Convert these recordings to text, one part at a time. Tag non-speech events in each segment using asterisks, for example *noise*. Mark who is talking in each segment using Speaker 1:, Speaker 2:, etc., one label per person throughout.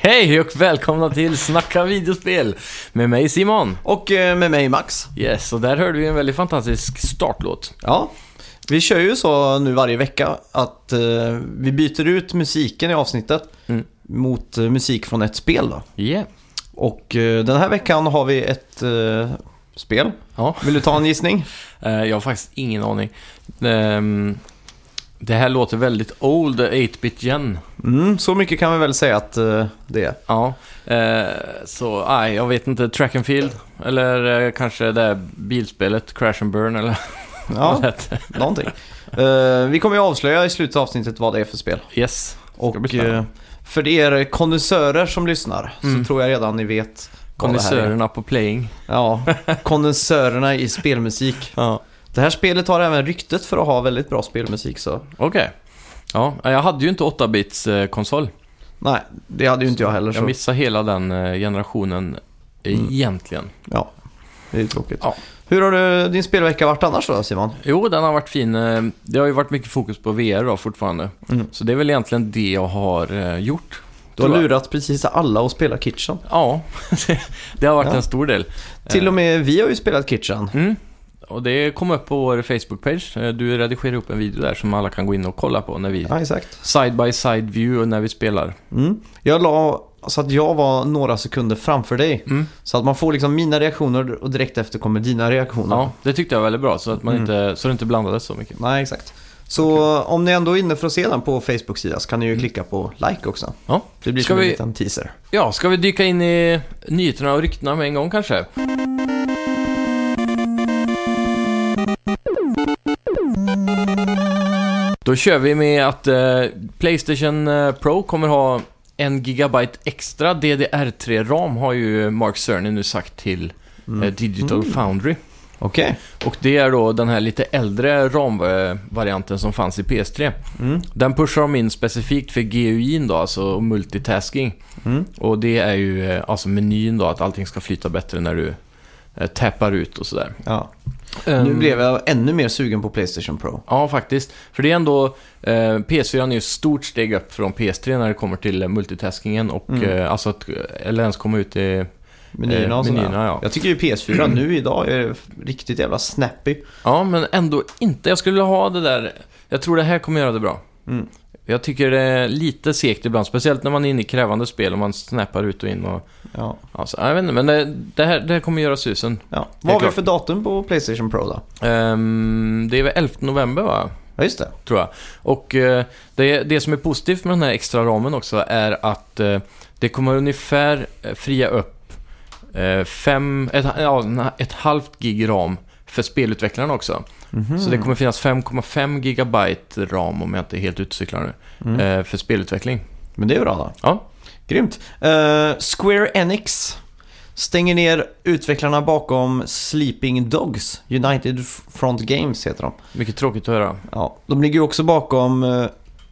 Speaker 1: Hej och välkomna till Snacka videospel med mig Simon.
Speaker 2: Och eh, med mig Max.
Speaker 1: Yes, och där hörde vi en väldigt fantastisk startlåt.
Speaker 2: Ja, vi kör ju så nu varje vecka att eh, vi byter ut musiken i avsnittet
Speaker 1: Mm.
Speaker 2: mot eh, musik från ett spel. Då.
Speaker 1: Yeah.
Speaker 2: Och eh, den här veckan har vi ett eh, spel.
Speaker 1: Ja.
Speaker 2: Vill du ta en gissning?
Speaker 1: Eh, Jag har faktiskt ingen aning. Ehm, Det här låter väldigt old, 8-bit gen.
Speaker 2: Mm, så mycket kan vi väl säga att eh, det är.
Speaker 1: Ja, eh, så nej, jag vet inte. Track and field, eller eh, kanske det här bilspelet, Crash and Burn eller vad det *laughs*
Speaker 2: Ja,
Speaker 1: hette.
Speaker 2: någonting. Eh, vi kommer ju avslöja i slutet av avsnitet vad det är för spel.
Speaker 1: Yes. Ska bli
Speaker 2: Och
Speaker 1: spännande.
Speaker 2: eh, för er kondensörer som lyssnar
Speaker 1: Mm.
Speaker 2: så tror jag redan ni vet vad det här är.
Speaker 1: Kondensörerna på playing.
Speaker 2: Ja, kondensörerna i spelmusik.
Speaker 1: Ja.
Speaker 2: Det här spelet har även ryktet för att ha väldigt bra spelmusik så
Speaker 1: Okej. Ja, jag hade ju inte 8-bits eh, konsol.
Speaker 2: nej, det hade ju inte jag heller. Så. Mm.
Speaker 1: Jag missade hela den eh, generationen egentligen.
Speaker 2: Ja, det är tråkigt.
Speaker 1: Ja.
Speaker 2: Hur har du, din spelvecka varit annars då Simon?
Speaker 1: Jo, den har varit fin. eh, Det har ju varit mycket fokus på VR då fortfarande.
Speaker 2: Mm.
Speaker 1: Så det är väl egentligen det jag har eh, gjort.
Speaker 2: Du har
Speaker 1: tror jag.
Speaker 2: lurat precis alla att spela Kitchen.
Speaker 1: Ja, *laughs* det har varit
Speaker 2: Ja.
Speaker 1: en stor del.
Speaker 2: Till
Speaker 1: Eh.
Speaker 2: och med vi har ju spelat Kitchen.
Speaker 1: Mm. Och det kom upp på vår Facebook-page. Eh, Du redigerar upp en video där som alla kan gå in och kolla på när vi...
Speaker 2: Ja, exakt.
Speaker 1: Side by side view och när vi spelar.
Speaker 2: Mm. Jag la så att jag var några sekunder framför dig.
Speaker 1: Mm.
Speaker 2: Så att man får liksom mina reaktioner och direkt efter kommer dina reaktioner.
Speaker 1: Ja, det tyckte jag var väldigt bra så, att man
Speaker 2: Mm.
Speaker 1: inte, så det inte blandades så mycket.
Speaker 2: Nej, exakt. Så om ni ändå är inne för att se den på Facebook-sidan så kan ni ju klicka på like också.
Speaker 1: Ja.
Speaker 2: Det blir
Speaker 1: Mm. Ska
Speaker 2: som en
Speaker 1: vi-
Speaker 2: liten teaser.
Speaker 1: Ja, ska vi dyka in i nyheterna och ryktena med en gång kanske? Då kör vi med att eh, Playstation eh, Pro kommer ha en gigabyte extra DDR3-ram har ju Mark Cerny nu sagt till eh, Digital Foundry.
Speaker 2: Okej.
Speaker 1: Och det är då den här lite äldre RAM-varianten som fanns i PS3.
Speaker 2: Mm.
Speaker 1: Den pushar de in specifikt för GUI'n då, alltså multitasking.
Speaker 2: Mm.
Speaker 1: Och det är ju eh, alltså menyn då, att allting ska flyta bättre när du eh, tappar ut och sådär.
Speaker 2: Ja. Nu
Speaker 1: Ehm,
Speaker 2: blev jag ännu mer sugen på Playstation Pro.
Speaker 1: Ja, faktiskt. För det är ändå... Eh, PS4 är ju ett stort steg upp från PS3 när det kommer till eh, multitaskingen och
Speaker 2: Mm.
Speaker 1: eh, alltså att... Eller ens komma ut i...
Speaker 2: Menyerna och
Speaker 1: Eh,
Speaker 2: sådär.
Speaker 1: menyerna, ja. Mm.
Speaker 2: Jag tycker ju PS4 nu idag är riktigt jävla snappy.
Speaker 1: Ja, men ändå inte. Jag skulle vilja ha det där... Jag tror det här kommer göra det bra.
Speaker 2: Mm.
Speaker 1: Jag tycker det är lite segt ibland, speciellt när man är inne i krävande spel och man snappar ut och in och...
Speaker 2: Ja.
Speaker 1: Alltså, jag vet inte, men det, det, här, det här kommer göra susen.
Speaker 2: Ja.
Speaker 1: är
Speaker 2: Vad har vi
Speaker 1: klart.
Speaker 2: för datum på Playstation Pro då?
Speaker 1: Ehm, det är väl 11 november, va?
Speaker 2: Ja, just det.
Speaker 1: tror jag. Och eh, det, det som är positivt med den här extra ramen också är att eh, det kommer ungefär eh, fria upp eh, fem, ett, ja, na- ett halvt gig ram för spelutvecklarna också. Så
Speaker 2: Mm.
Speaker 1: det kommer finnas 5,5 gigabyte ram om jag inte är helt utcyklar nu.
Speaker 2: Mm.
Speaker 1: Eh, för spelutveckling.
Speaker 2: Men det är bra då.
Speaker 1: Ja.
Speaker 2: Grymt. Eh, Square Enix stänger ner utvecklarna bakom Sleeping Dogs. United Front Games heter de.
Speaker 1: Mycket tråkigt att höra.
Speaker 2: *laughs* Ja, de ligger ju också bakom, eh,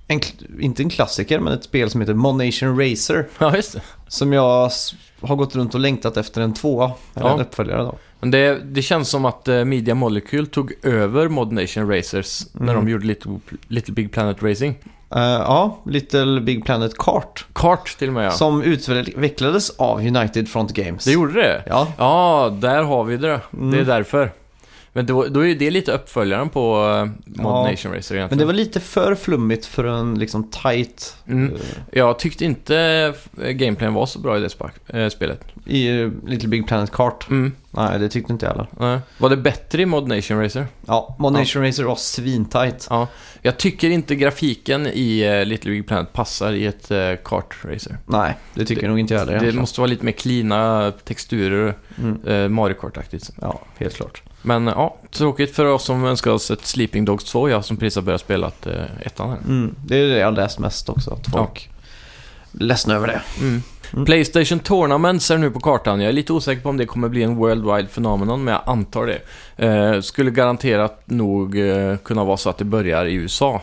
Speaker 2: en, kl- inte en klassiker, men ett spel som heter Monation Racer.
Speaker 1: Ja, just det.
Speaker 2: Som jag s- har gått runt och längtat efter en tvåa, eller
Speaker 1: Ja.
Speaker 2: en uppföljare då.
Speaker 1: Men det, det känns som att eh, Media Molecule tog över Mod Nation Racers när
Speaker 2: Mm.
Speaker 1: de gjorde Little, Little Big Planet Racing.
Speaker 2: Eh, ja, Little Big Planet Kart.
Speaker 1: Kart till och med ja.
Speaker 2: Som utvecklades av United Front Games.
Speaker 1: Det gjorde det?
Speaker 2: Ja,
Speaker 1: Ja, där har vi det.
Speaker 2: Mm.
Speaker 1: Det är därför. Men då, då är ju det lite uppföljaren på eh, Mod
Speaker 2: Ja.
Speaker 1: Nation Racer egentligen.
Speaker 2: men det var lite för flummigt för en liksom tight...
Speaker 1: Mm.
Speaker 2: eh,
Speaker 1: Jag tyckte inte eh, gameplayen var så bra i det spak- eh, spelet.
Speaker 2: I eh, Little Big Planet Kart.
Speaker 1: Mm.
Speaker 2: Nej, det tyckte inte jag heller.
Speaker 1: nej. Var det bättre i Mod Nation Racer?
Speaker 2: Ja, Monation Racer var svintight.
Speaker 1: Ja. Jag tycker inte grafiken i eh, Little Big Planet passar i ett eh, kartracer.
Speaker 2: Nej, det tycker
Speaker 1: Det-
Speaker 2: nog inte jag heller.
Speaker 1: Det
Speaker 2: egentligen.
Speaker 1: måste vara lite mer cleana texturer,
Speaker 2: Mm.
Speaker 1: eh, Mario Kart-aktigt.
Speaker 2: Ja, helt klart.
Speaker 1: Men eh, ja, tråkigt för oss som önskar oss ett Sleeping Dogs 2, jag som precis har börjat spela eh, ettan här.
Speaker 2: Mm, det är det jag har läst mest också, att folk är ledsna över det.
Speaker 1: Mm. Playstation Tournaments är nu på kartan. Jag är lite osäker på om det kommer bli en worldwide phenomenon, men jag antar det. Eh, skulle garanterat nog eh, kunna vara så att det börjar i USA.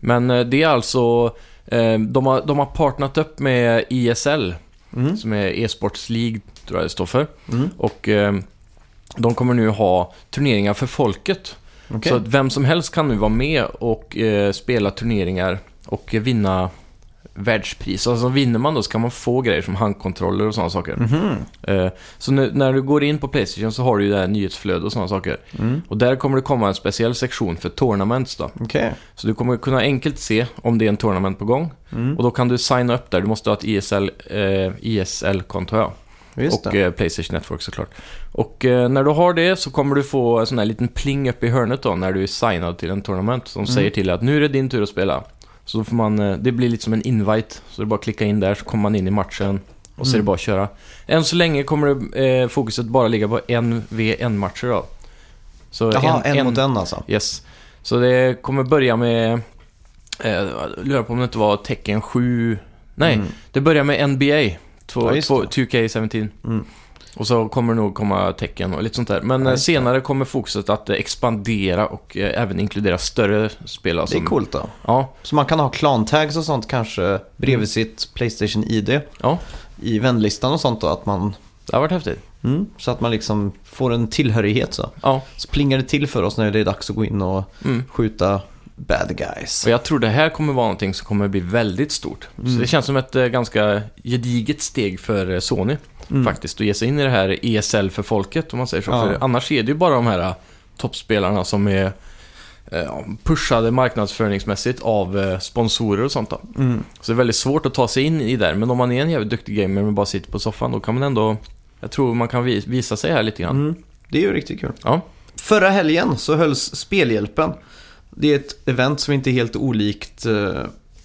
Speaker 1: Men eh, det är alltså... Eh, de, har, de har partnrat upp med ISL,
Speaker 2: Mm.
Speaker 1: som är e-sports League, tror jag det står för.
Speaker 2: Mm.
Speaker 1: Och eh, de kommer nu ha turneringar för folket.
Speaker 2: Okej.
Speaker 1: Så att vem som helst kan nu vara med och eh, spela turneringar och eh, vinna världspris. Alltså vinner man då så kan man få grejer som handkontroller och sådana saker.
Speaker 2: Mhm.
Speaker 1: Eh, Så nu, när du går in på Playstation så har du ju det här nyhetsflödet och sådana saker.
Speaker 2: Mm.
Speaker 1: Och där kommer det komma en speciell sektion för tournaments då.
Speaker 2: Okej.
Speaker 1: Så du kommer kunna enkelt se om det är en tournament på gång.
Speaker 2: Mm.
Speaker 1: Och då kan du signa upp där. Du måste ha ett ISL, eh, ISL-konto ja.
Speaker 2: Just
Speaker 1: och
Speaker 2: det.
Speaker 1: eh, Playstation Network såklart. Och eh, när du har det så kommer du få en sån här liten pling upp i hörnet då när du är signad till en tournament som
Speaker 2: Mm.
Speaker 1: säger till dig att nu är det din tur att spela. Så då får man, eh, det blir lite som en invite, så det är bara att klicka in där så kommer man in i matchen och så är det
Speaker 2: Mm.
Speaker 1: bara att köra. Än så länge kommer det, eh, fokuset bara ligga på en v en matcher då. Så
Speaker 2: Jaha, en, mot en alltså.
Speaker 1: Yes. Så det kommer börja med, eh, jag lurar på om det inte var tecken 7, nej,
Speaker 2: Mm.
Speaker 1: det börjar med NBA, två,
Speaker 2: Ja, just
Speaker 1: två,
Speaker 2: det.
Speaker 1: 2K17.
Speaker 2: Mm.
Speaker 1: Och så kommer det nog komma tecken och lite sånt där. Men
Speaker 2: Ja,
Speaker 1: eh,
Speaker 2: just
Speaker 1: senare kommer fokuset att eh, expandera och eh, även inkludera större spel.
Speaker 2: Det
Speaker 1: Alltså.
Speaker 2: är coolt då.
Speaker 1: Ja,
Speaker 2: Så man kan ha klantags och sånt kanske bredvid
Speaker 1: Mm.
Speaker 2: sitt Playstation ID.
Speaker 1: Ja.
Speaker 2: I vänlistan och sånt då. Att man,
Speaker 1: det har varit häftigt.
Speaker 2: mm, så att man liksom får en tillhörighet så.
Speaker 1: Ja.
Speaker 2: Så plingar det till för oss när det är dags att gå in och
Speaker 1: Mm.
Speaker 2: skjuta bad guys.
Speaker 1: Och jag tror det här kommer vara någonting som kommer bli väldigt stort.
Speaker 2: Mm.
Speaker 1: Så det känns som ett eh, ganska gediget steg för eh, Sony
Speaker 2: Mm.
Speaker 1: faktiskt. Att ge sig in i det här ESL för folket om man säger så.
Speaker 2: Ja.
Speaker 1: För annars är det ju bara de här eh, toppspelarna som är eh, ja, pushade marknadsföringsmässigt av eh, sponsorer och sånt då.
Speaker 2: Mm.
Speaker 1: Så det är väldigt svårt att ta sig in i där. Men om man är en jävligt duktig gamer men bara sitter på soffan, då kan man ändå... Jag tror man kan vi- visa sig här lite grann.
Speaker 2: Mm. Det är ju riktigt kul.
Speaker 1: Ja.
Speaker 2: Förra helgen så hölls Spelhjälpen. Det är ett event som inte är helt olikt eh,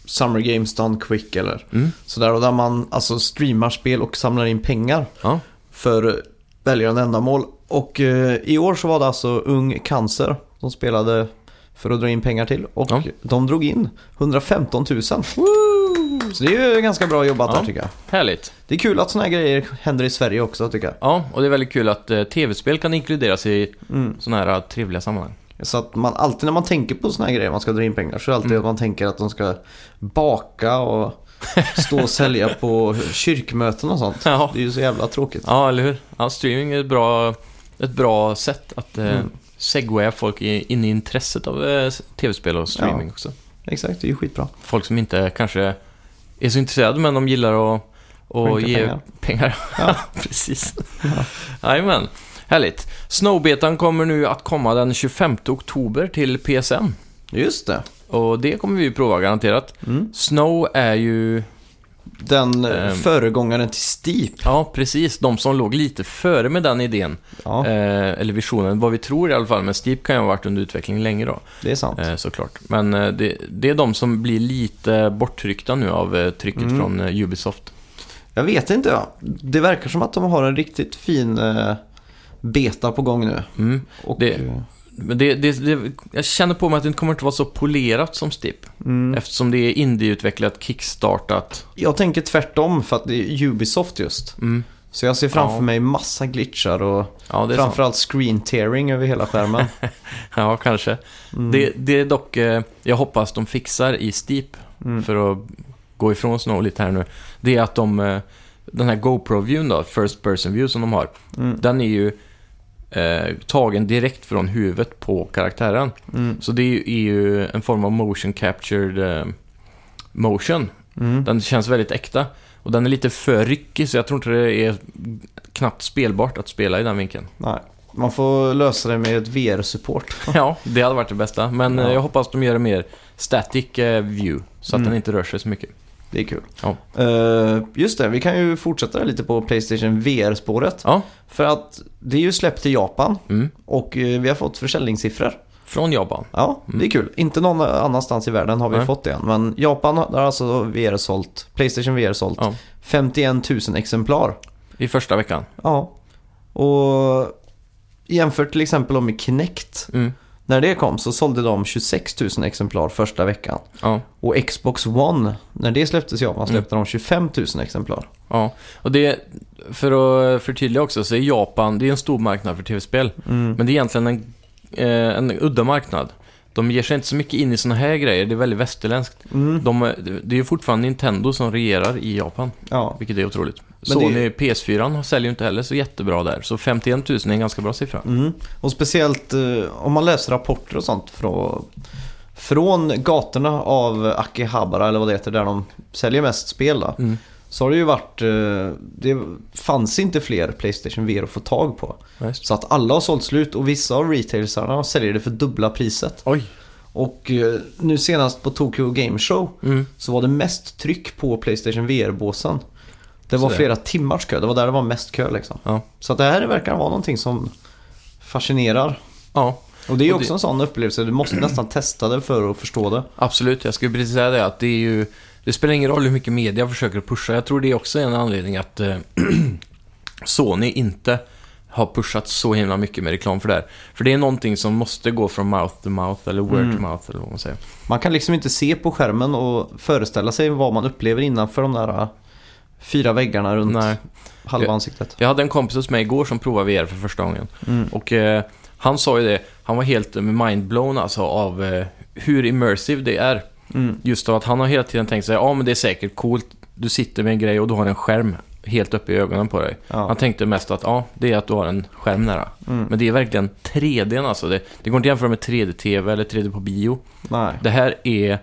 Speaker 2: Summer Games Done Quick eller
Speaker 1: Mm.
Speaker 2: sådär. Och där man alltså streamar spel och samlar in pengar
Speaker 1: Ja.
Speaker 2: för välgörande ändamål. Och eh, i år så var det alltså Ung Cancer som spelade för att dra in pengar till. Och
Speaker 1: Ja.
Speaker 2: de drog in 115 000. Så det är ju ganska bra jobbat
Speaker 1: Ja.
Speaker 2: där tycker jag.
Speaker 1: Härligt.
Speaker 2: Det är kul att sådana här grejer händer i Sverige också tycker jag.
Speaker 1: Ja, och det är väldigt kul att eh, tv-spel kan inkluderas i
Speaker 2: Mm.
Speaker 1: sådana här eh, trevliga sammanhang.
Speaker 2: Så att man alltid när man tänker på sådana här grejer man ska dra in pengar så är det
Speaker 1: Mm.
Speaker 2: alltid att man tänker att de ska baka och stå och sälja på kyrkmöten och sånt.
Speaker 1: Ja.
Speaker 2: Det är ju så jävla tråkigt.
Speaker 1: Ja, eller hur? Ja, streaming är ett bra, ett bra sätt att eh,
Speaker 2: Mm.
Speaker 1: segwaya folk i- in i intresset av eh, tv-spel och streaming också.
Speaker 2: Exakt, det är ju skitbra.
Speaker 1: Folk som inte kanske är så intresserade men de gillar att, att
Speaker 2: Skänka
Speaker 1: ge
Speaker 2: pengar.
Speaker 1: pengar. Ja, *laughs* precis. Jajamän. Härligt. Snowbetan kommer nu att komma den 25 oktober till PSN.
Speaker 2: Just det.
Speaker 1: Och det kommer vi ju prova garanterat.
Speaker 2: Mm.
Speaker 1: Snow är ju,
Speaker 2: Den
Speaker 1: Ehm.
Speaker 2: um. föregångaren till Steep.
Speaker 1: ja precis, de som låg lite före med den idén.
Speaker 2: Ja,
Speaker 1: Eh, eller visionen, vad vi tror i alla fall. Men Steep kan ju ha varit under utveckling länge då,
Speaker 2: det är sant.
Speaker 1: eh, såklart. Men eh, det, det är de som blir lite borttryckta nu av eh, trycket
Speaker 2: Mm.
Speaker 1: från eh, Ubisoft.
Speaker 2: Jag vet inte. Ja. Det verkar som att de har en riktigt fin eh, beta på gång nu.
Speaker 1: Mm.
Speaker 2: Och,
Speaker 1: Det-
Speaker 2: eh,
Speaker 1: Men det, det, det, jag känner på mig att det inte kommer att vara så polerat som Steep.
Speaker 2: Mm.
Speaker 1: Eftersom det är indieutvecklat, kickstartat.
Speaker 2: Jag tänker tvärtom för att det är Ubisoft just.
Speaker 1: Mm.
Speaker 2: Så jag ser framför
Speaker 1: Ja.
Speaker 2: mig massa glitchar och
Speaker 1: Ja, det är sant.
Speaker 2: Framförallt screen tearing över hela skärmen.
Speaker 1: Ja, kanske. *laughs*
Speaker 2: Mm.
Speaker 1: Det, det är dock, eh, jag hoppas de fixar i Steep,
Speaker 2: Mm.
Speaker 1: för att gå ifrån Snow lite här nu, det är att de, eh, den här GoPro-viewn då, First Person View som de har,
Speaker 2: Mm.
Speaker 1: den är ju eh, tagen direkt från huvudet på karaktären.
Speaker 2: Mm.
Speaker 1: Så det är ju, är ju en form av motion captured eh, motion.
Speaker 2: Mm.
Speaker 1: Den känns väldigt äkta. Och den är lite för ryckig, så jag tror inte det är knappt spelbart att spela i den vinkeln.
Speaker 2: *laughs* Nej. Man får lösa det med ett VR-support.
Speaker 1: Ja, det hade varit det bästa. Men eh,
Speaker 2: Ja.
Speaker 1: jag hoppas de gör det mer static eh, view, så att
Speaker 2: Mm.
Speaker 1: den inte rör sig så mycket.
Speaker 2: Det är kul.
Speaker 1: Ja.
Speaker 2: Eh, just det, vi kan ju fortsätta lite på Playstation VR-spåret.
Speaker 1: Ja.
Speaker 2: För att det är ju släppt i Japan
Speaker 1: Mm.
Speaker 2: och eh, vi har fått försäljningssiffror.
Speaker 1: Från Japan.
Speaker 2: Ja,
Speaker 1: Mm.
Speaker 2: det är kul. Inte någon annanstans i världen har vi
Speaker 1: Nej.
Speaker 2: fått det än. Men Japan där har alltså VR sålt, Playstation VR sålt
Speaker 1: Ja.
Speaker 2: 51 000 exemplar.
Speaker 1: I första veckan.
Speaker 2: Ja. Och jämfört till exempel då med Kinect.
Speaker 1: Mm.
Speaker 2: När det kom så sålde de 26 000 exemplar första veckan.
Speaker 1: Ja.
Speaker 2: Och Xbox One, när det släpptes i Japan,
Speaker 1: Mm.
Speaker 2: släppte de 25 000 exemplar.
Speaker 1: ja. Och det, för att förtydliga också, så är Japan, det är en stor marknad för tv-spel.
Speaker 2: Mm.
Speaker 1: Men det är egentligen en, eh, en udda marknad. De ger sig inte så mycket in i såna här grejer, det är väldigt västerländskt.
Speaker 2: Mm.
Speaker 1: De, eh, det är ju fortfarande Nintendo som regerar i Japan,
Speaker 2: Ja.
Speaker 1: vilket är otroligt.
Speaker 2: det-
Speaker 1: Sony PS4 säljer ju inte heller så jättebra där, så 51 000 är en ganska bra siffra.
Speaker 2: Mm. Och speciellt eh, om man läser rapporter och sånt från, Från gatorna av Akihabara, eller vad det heter, där de säljer mest spel då.
Speaker 1: Mm.
Speaker 2: Så har det ju varit, eh, det fanns inte fler Playstation VR att få tag på.
Speaker 1: Ja, just.
Speaker 2: Så att alla har sålt slut och vissa av retailsarna säljer det för dubbla priset.
Speaker 1: Oj.
Speaker 2: Och eh, nu senast på Tokyo Game Show
Speaker 1: Mm.
Speaker 2: så var det mest tryck på Playstation VR-båsen. Det var
Speaker 1: Så det.
Speaker 2: flera timmars kö, det var där det var mest kö liksom.
Speaker 1: Ja.
Speaker 2: Så att det här verkar vara någonting som fascinerar.
Speaker 1: ja,
Speaker 2: Och det är ju
Speaker 1: Och det-
Speaker 2: också en sån upplevelse, du
Speaker 1: *clears throat*
Speaker 2: måste nästan testa det för att förstå det.
Speaker 1: absolut. Jag skulle precis säga det att det är ju... Det spelar ingen roll hur mycket media försöker pusha. Jag tror det är också en anledning att eh, *clears throat* Sony inte har pushat så himla mycket med reklam för det här. För det är någonting som måste gå från mouth to mouth eller word to mouth eller vad man säger.
Speaker 2: Man kan liksom inte se på skärmen och föreställa sig vad man upplever innanför de där äh, fyra väggarna runt
Speaker 1: Nej.
Speaker 2: halva
Speaker 1: Ja.
Speaker 2: ansiktet.
Speaker 1: Jag hade en kompis hos mig igår som provade VR för första gången.
Speaker 2: Mm.
Speaker 1: Och eh, han sa ju det, han var helt mindblown alltså av eh, hur immersive det är.
Speaker 2: Mm.
Speaker 1: Just av att han har hela tiden tänkt sig, ja men det är säkert coolt, du sitter med en grej och du har en skärm helt uppe i ögonen på dig.
Speaker 2: Ja.
Speaker 1: Han tänkte mest att, ja det är att du har en skärm nära.
Speaker 2: Mm.
Speaker 1: Men det är verkligen 3D n, alltså, det, det går inte att jämföra med 3D-TV eller 3D på bio.
Speaker 2: Nej.
Speaker 1: Det här är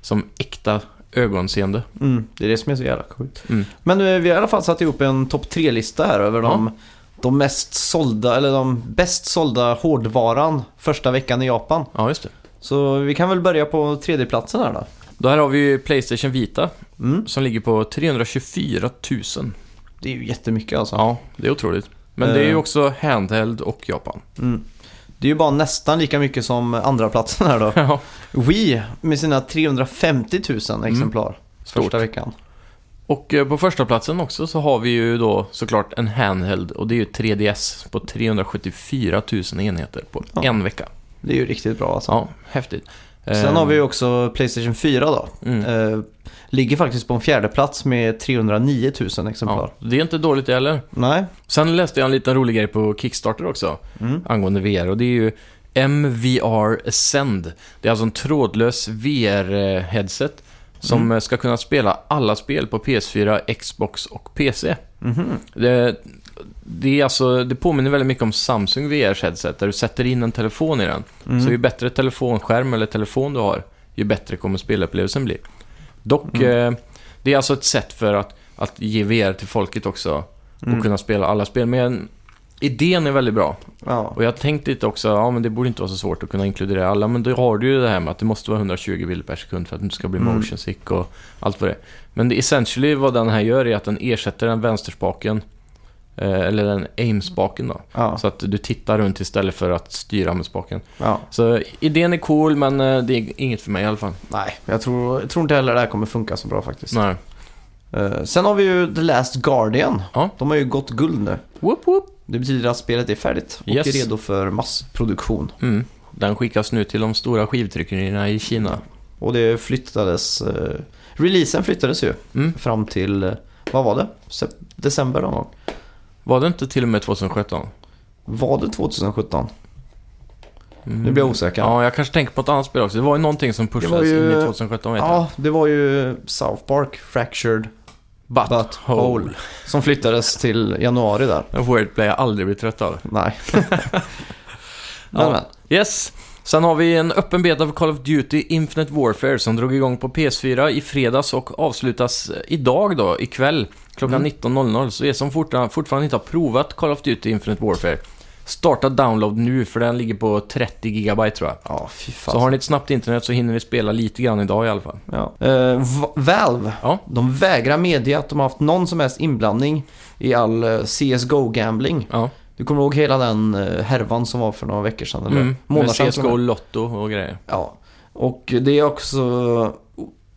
Speaker 1: som äkta ögonseende.
Speaker 2: Mm. Det är det som är så jävla coolt.
Speaker 1: Mm.
Speaker 2: Men eh, vi har i alla fall satt ihop en topp tre-lista här över de, de mest sålda, eller de bäst sålda hårdvaran första veckan i Japan.
Speaker 1: Ja, just det.
Speaker 2: Så vi kan väl börja på tredjeplatsen här då.
Speaker 1: Då här har vi ju Playstation Vita
Speaker 2: Mm.
Speaker 1: som ligger på 324 000.
Speaker 2: Det är ju jättemycket alltså.
Speaker 1: Ja, det är otroligt. Men det är ju
Speaker 2: Eh.
Speaker 1: också handheld och Japan.
Speaker 2: *laughs* Mm. Det är ju bara nästan lika mycket som andra platsen här då.
Speaker 1: Ja.
Speaker 2: Wii med sina 350 000 exemplar
Speaker 1: Mm. Stort.
Speaker 2: första veckan.
Speaker 1: Och eh, på första platsen också så har vi ju då såklart en handheld och det är ju 3DS på 374 000 enheter på
Speaker 2: Ja.
Speaker 1: en vecka.
Speaker 2: Det är ju riktigt bra alltså.
Speaker 1: Ja, häftigt.
Speaker 2: Sen
Speaker 1: Eh,
Speaker 2: har vi ju också Playstation 4 då.
Speaker 1: Mm.
Speaker 2: Eh, ligger faktiskt på en fjärde plats med 309 000 exemplar.
Speaker 1: Ja, det är inte dåligt det heller.
Speaker 2: Nej.
Speaker 1: Sen läste jag en liten rolig grej på Kickstarter också
Speaker 2: Mm.
Speaker 1: angående VR och det är ju MVR Ascend. Det är alltså en trådlös VR-headset som eh, ska kunna spela alla spel på PS4, Xbox och PC.
Speaker 2: Mhm.
Speaker 1: Det, det, är alltså, det påminner väldigt mycket om Samsung VRs headset där du sätter in en telefon i den.
Speaker 2: Mm.
Speaker 1: Så ju bättre telefonskärm eller telefon du har, ju bättre kommer spelupplevelsen bli. Dock, eh, det är alltså ett sätt för att, att ge VR till folket också och
Speaker 2: Mm.
Speaker 1: kunna spela alla spel. Men idén är väldigt bra.
Speaker 2: Ja.
Speaker 1: Och jag har tänkt lite också, ja men det borde inte vara så svårt att kunna inkludera alla. Men då har du ju det här med att det måste vara 120 bilder per sekund för att det inte ska bli
Speaker 2: Mm.
Speaker 1: motion sick och allt vad det är. Men det, essentially vad den här gör är att den ersätter den vänsterspaken. eh, Eller den aim-spaken då.
Speaker 2: Ja.
Speaker 1: Så att du tittar runt istället för att styra med spaken.
Speaker 2: ja.
Speaker 1: Så idén är cool men eh, det är inget för mig i alla fall.
Speaker 2: Nej, jag tror, jag tror inte heller det här kommer funka så bra faktiskt.
Speaker 1: Nej.
Speaker 2: Eh, sen har vi ju The Last Guardian.
Speaker 1: Ja.
Speaker 2: De har ju gått guld nu.
Speaker 1: Whoop, whoop.
Speaker 2: Det betyder att spelet är färdigt och
Speaker 1: Yes.
Speaker 2: är redo för massproduktion.
Speaker 1: Mm. Den skickas nu till de stora skivtryckerierna i Kina.
Speaker 2: Och det flyttades... eh, releasen flyttades ju
Speaker 1: Mm.
Speaker 2: fram till, eh, vad var det? Sep- december någon gång?
Speaker 1: Var det inte till och med 2017?
Speaker 2: Var det 2017?
Speaker 1: Mm.
Speaker 2: Nu blir jag osäker.
Speaker 1: Ja, jag kanske tänker på ett annat spel också. Det var ju någonting som
Speaker 2: var
Speaker 1: pushades
Speaker 2: ju-
Speaker 1: in i 2017 vet jag.
Speaker 2: Ja, det var ju South Park Fractured
Speaker 1: But,
Speaker 2: Butthole som flyttades till januari där.
Speaker 1: En wordplay jag aldrig blir trött av. *laughs*
Speaker 2: Nej. men, men.
Speaker 1: Yes! Sen har vi en öppen beta för Call of Duty Infinite Warfare som drog igång på PS4 i fredags och avslutas eh, idag då, ikväll, klockan 19.00. Så er som fortfarande, fortfarande inte har provat Call of Duty Infinite Warfare, starta download nu för den ligger på 30 GB tror jag.
Speaker 2: Ja, fy
Speaker 1: Så
Speaker 2: fan.
Speaker 1: har ni ett snabbt internet så hinner ni spela lite grann idag i alla fall.
Speaker 2: Ja. Eh, Va- Valve,
Speaker 1: Ja.
Speaker 2: de vägrar medge att de har haft någon som helst inblandning i all eh, CSGO-gambling.
Speaker 1: Ja,
Speaker 2: Du kommer ihåg hela den eh, härvan som var för några veckor sedan? Eller
Speaker 1: mm. Med
Speaker 2: månader sedan? till och
Speaker 1: CSGO,
Speaker 2: med.
Speaker 1: Lotto och grejer.
Speaker 2: Ja. Och det är också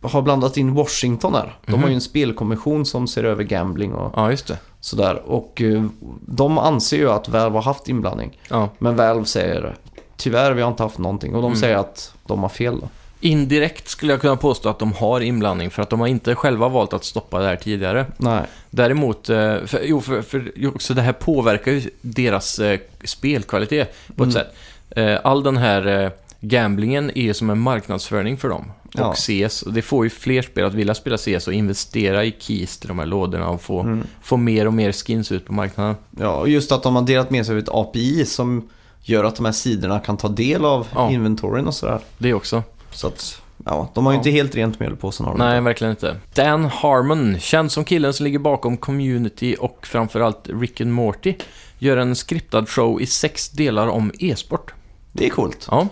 Speaker 2: har blandat in Washington där. De
Speaker 1: Mhm.
Speaker 2: har ju en spelkommission som ser över gambling och
Speaker 1: Ja, just det.
Speaker 2: sådär. Och eh, de anser ju att Valve har haft inblandning.
Speaker 1: Ja.
Speaker 2: Men Valve säger tyvärr, vi har inte haft någonting. Och de
Speaker 1: Mm.
Speaker 2: säger att de har fel då.
Speaker 1: Indirekt skulle jag kunna påstå att de har inblandning för att de har inte själva valt att stoppa det här tidigare.
Speaker 2: Nej.
Speaker 1: Däremot, eh, för, jo, för, för, jo, så det här påverkar ju deras eh, spelkvalitet på ett
Speaker 2: Mm.
Speaker 1: sätt. Eh, all den här eh, gamblingen är ju som en marknadsföring för dem.
Speaker 2: Ja.
Speaker 1: Och CS, och det får ju fler spel att vilja spela CS och investera i keys till de här lådorna och få,
Speaker 2: Mm.
Speaker 1: få mer och mer skins ut på marknaden.
Speaker 2: Ja, och just att de har delat med sig av ett API som gör att de här sidorna kan ta del av
Speaker 1: Ja.
Speaker 2: inventoryn och sådär.
Speaker 1: Det också.
Speaker 2: Så att, ja, de har ju
Speaker 1: Ja.
Speaker 2: inte helt rent mjöl i påsen har de
Speaker 1: Nej,
Speaker 2: inte.
Speaker 1: verkligen inte. Dan Harmon, känd som killen som ligger bakom Community och framförallt Rick and Morty, gör en skriptad show i sex delar om e-sport.
Speaker 2: Det är coolt.
Speaker 1: Ja,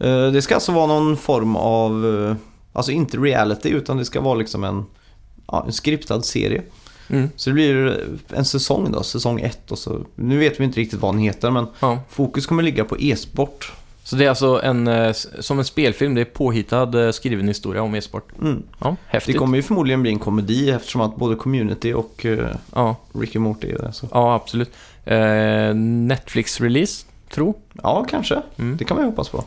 Speaker 2: Eh, Det ska alltså vara någon form av, eh, alltså inte reality utan det ska vara liksom en, ja, en skriptad serie.
Speaker 1: mm.
Speaker 2: Så det blir en säsong då, säsong ett och så, nu vet vi inte riktigt vad den heter men
Speaker 1: ja.
Speaker 2: fokus kommer ligga på e-sport.
Speaker 1: Så det är alltså en, eh, s- som en spelfilm, det är påhittad eh, skriven historia om e-sport.
Speaker 2: Mm.
Speaker 1: Ja,
Speaker 2: Det
Speaker 1: häftigt.
Speaker 2: kommer ju förmodligen bli en komedi eftersom att både community och eh,
Speaker 1: Ja,
Speaker 2: Rick and Morty är där. Så.
Speaker 1: ja, absolut. Eh, Netflix-release, tro.
Speaker 2: Ja, kanske.
Speaker 1: Mm.
Speaker 2: Det kan man ju hoppas på.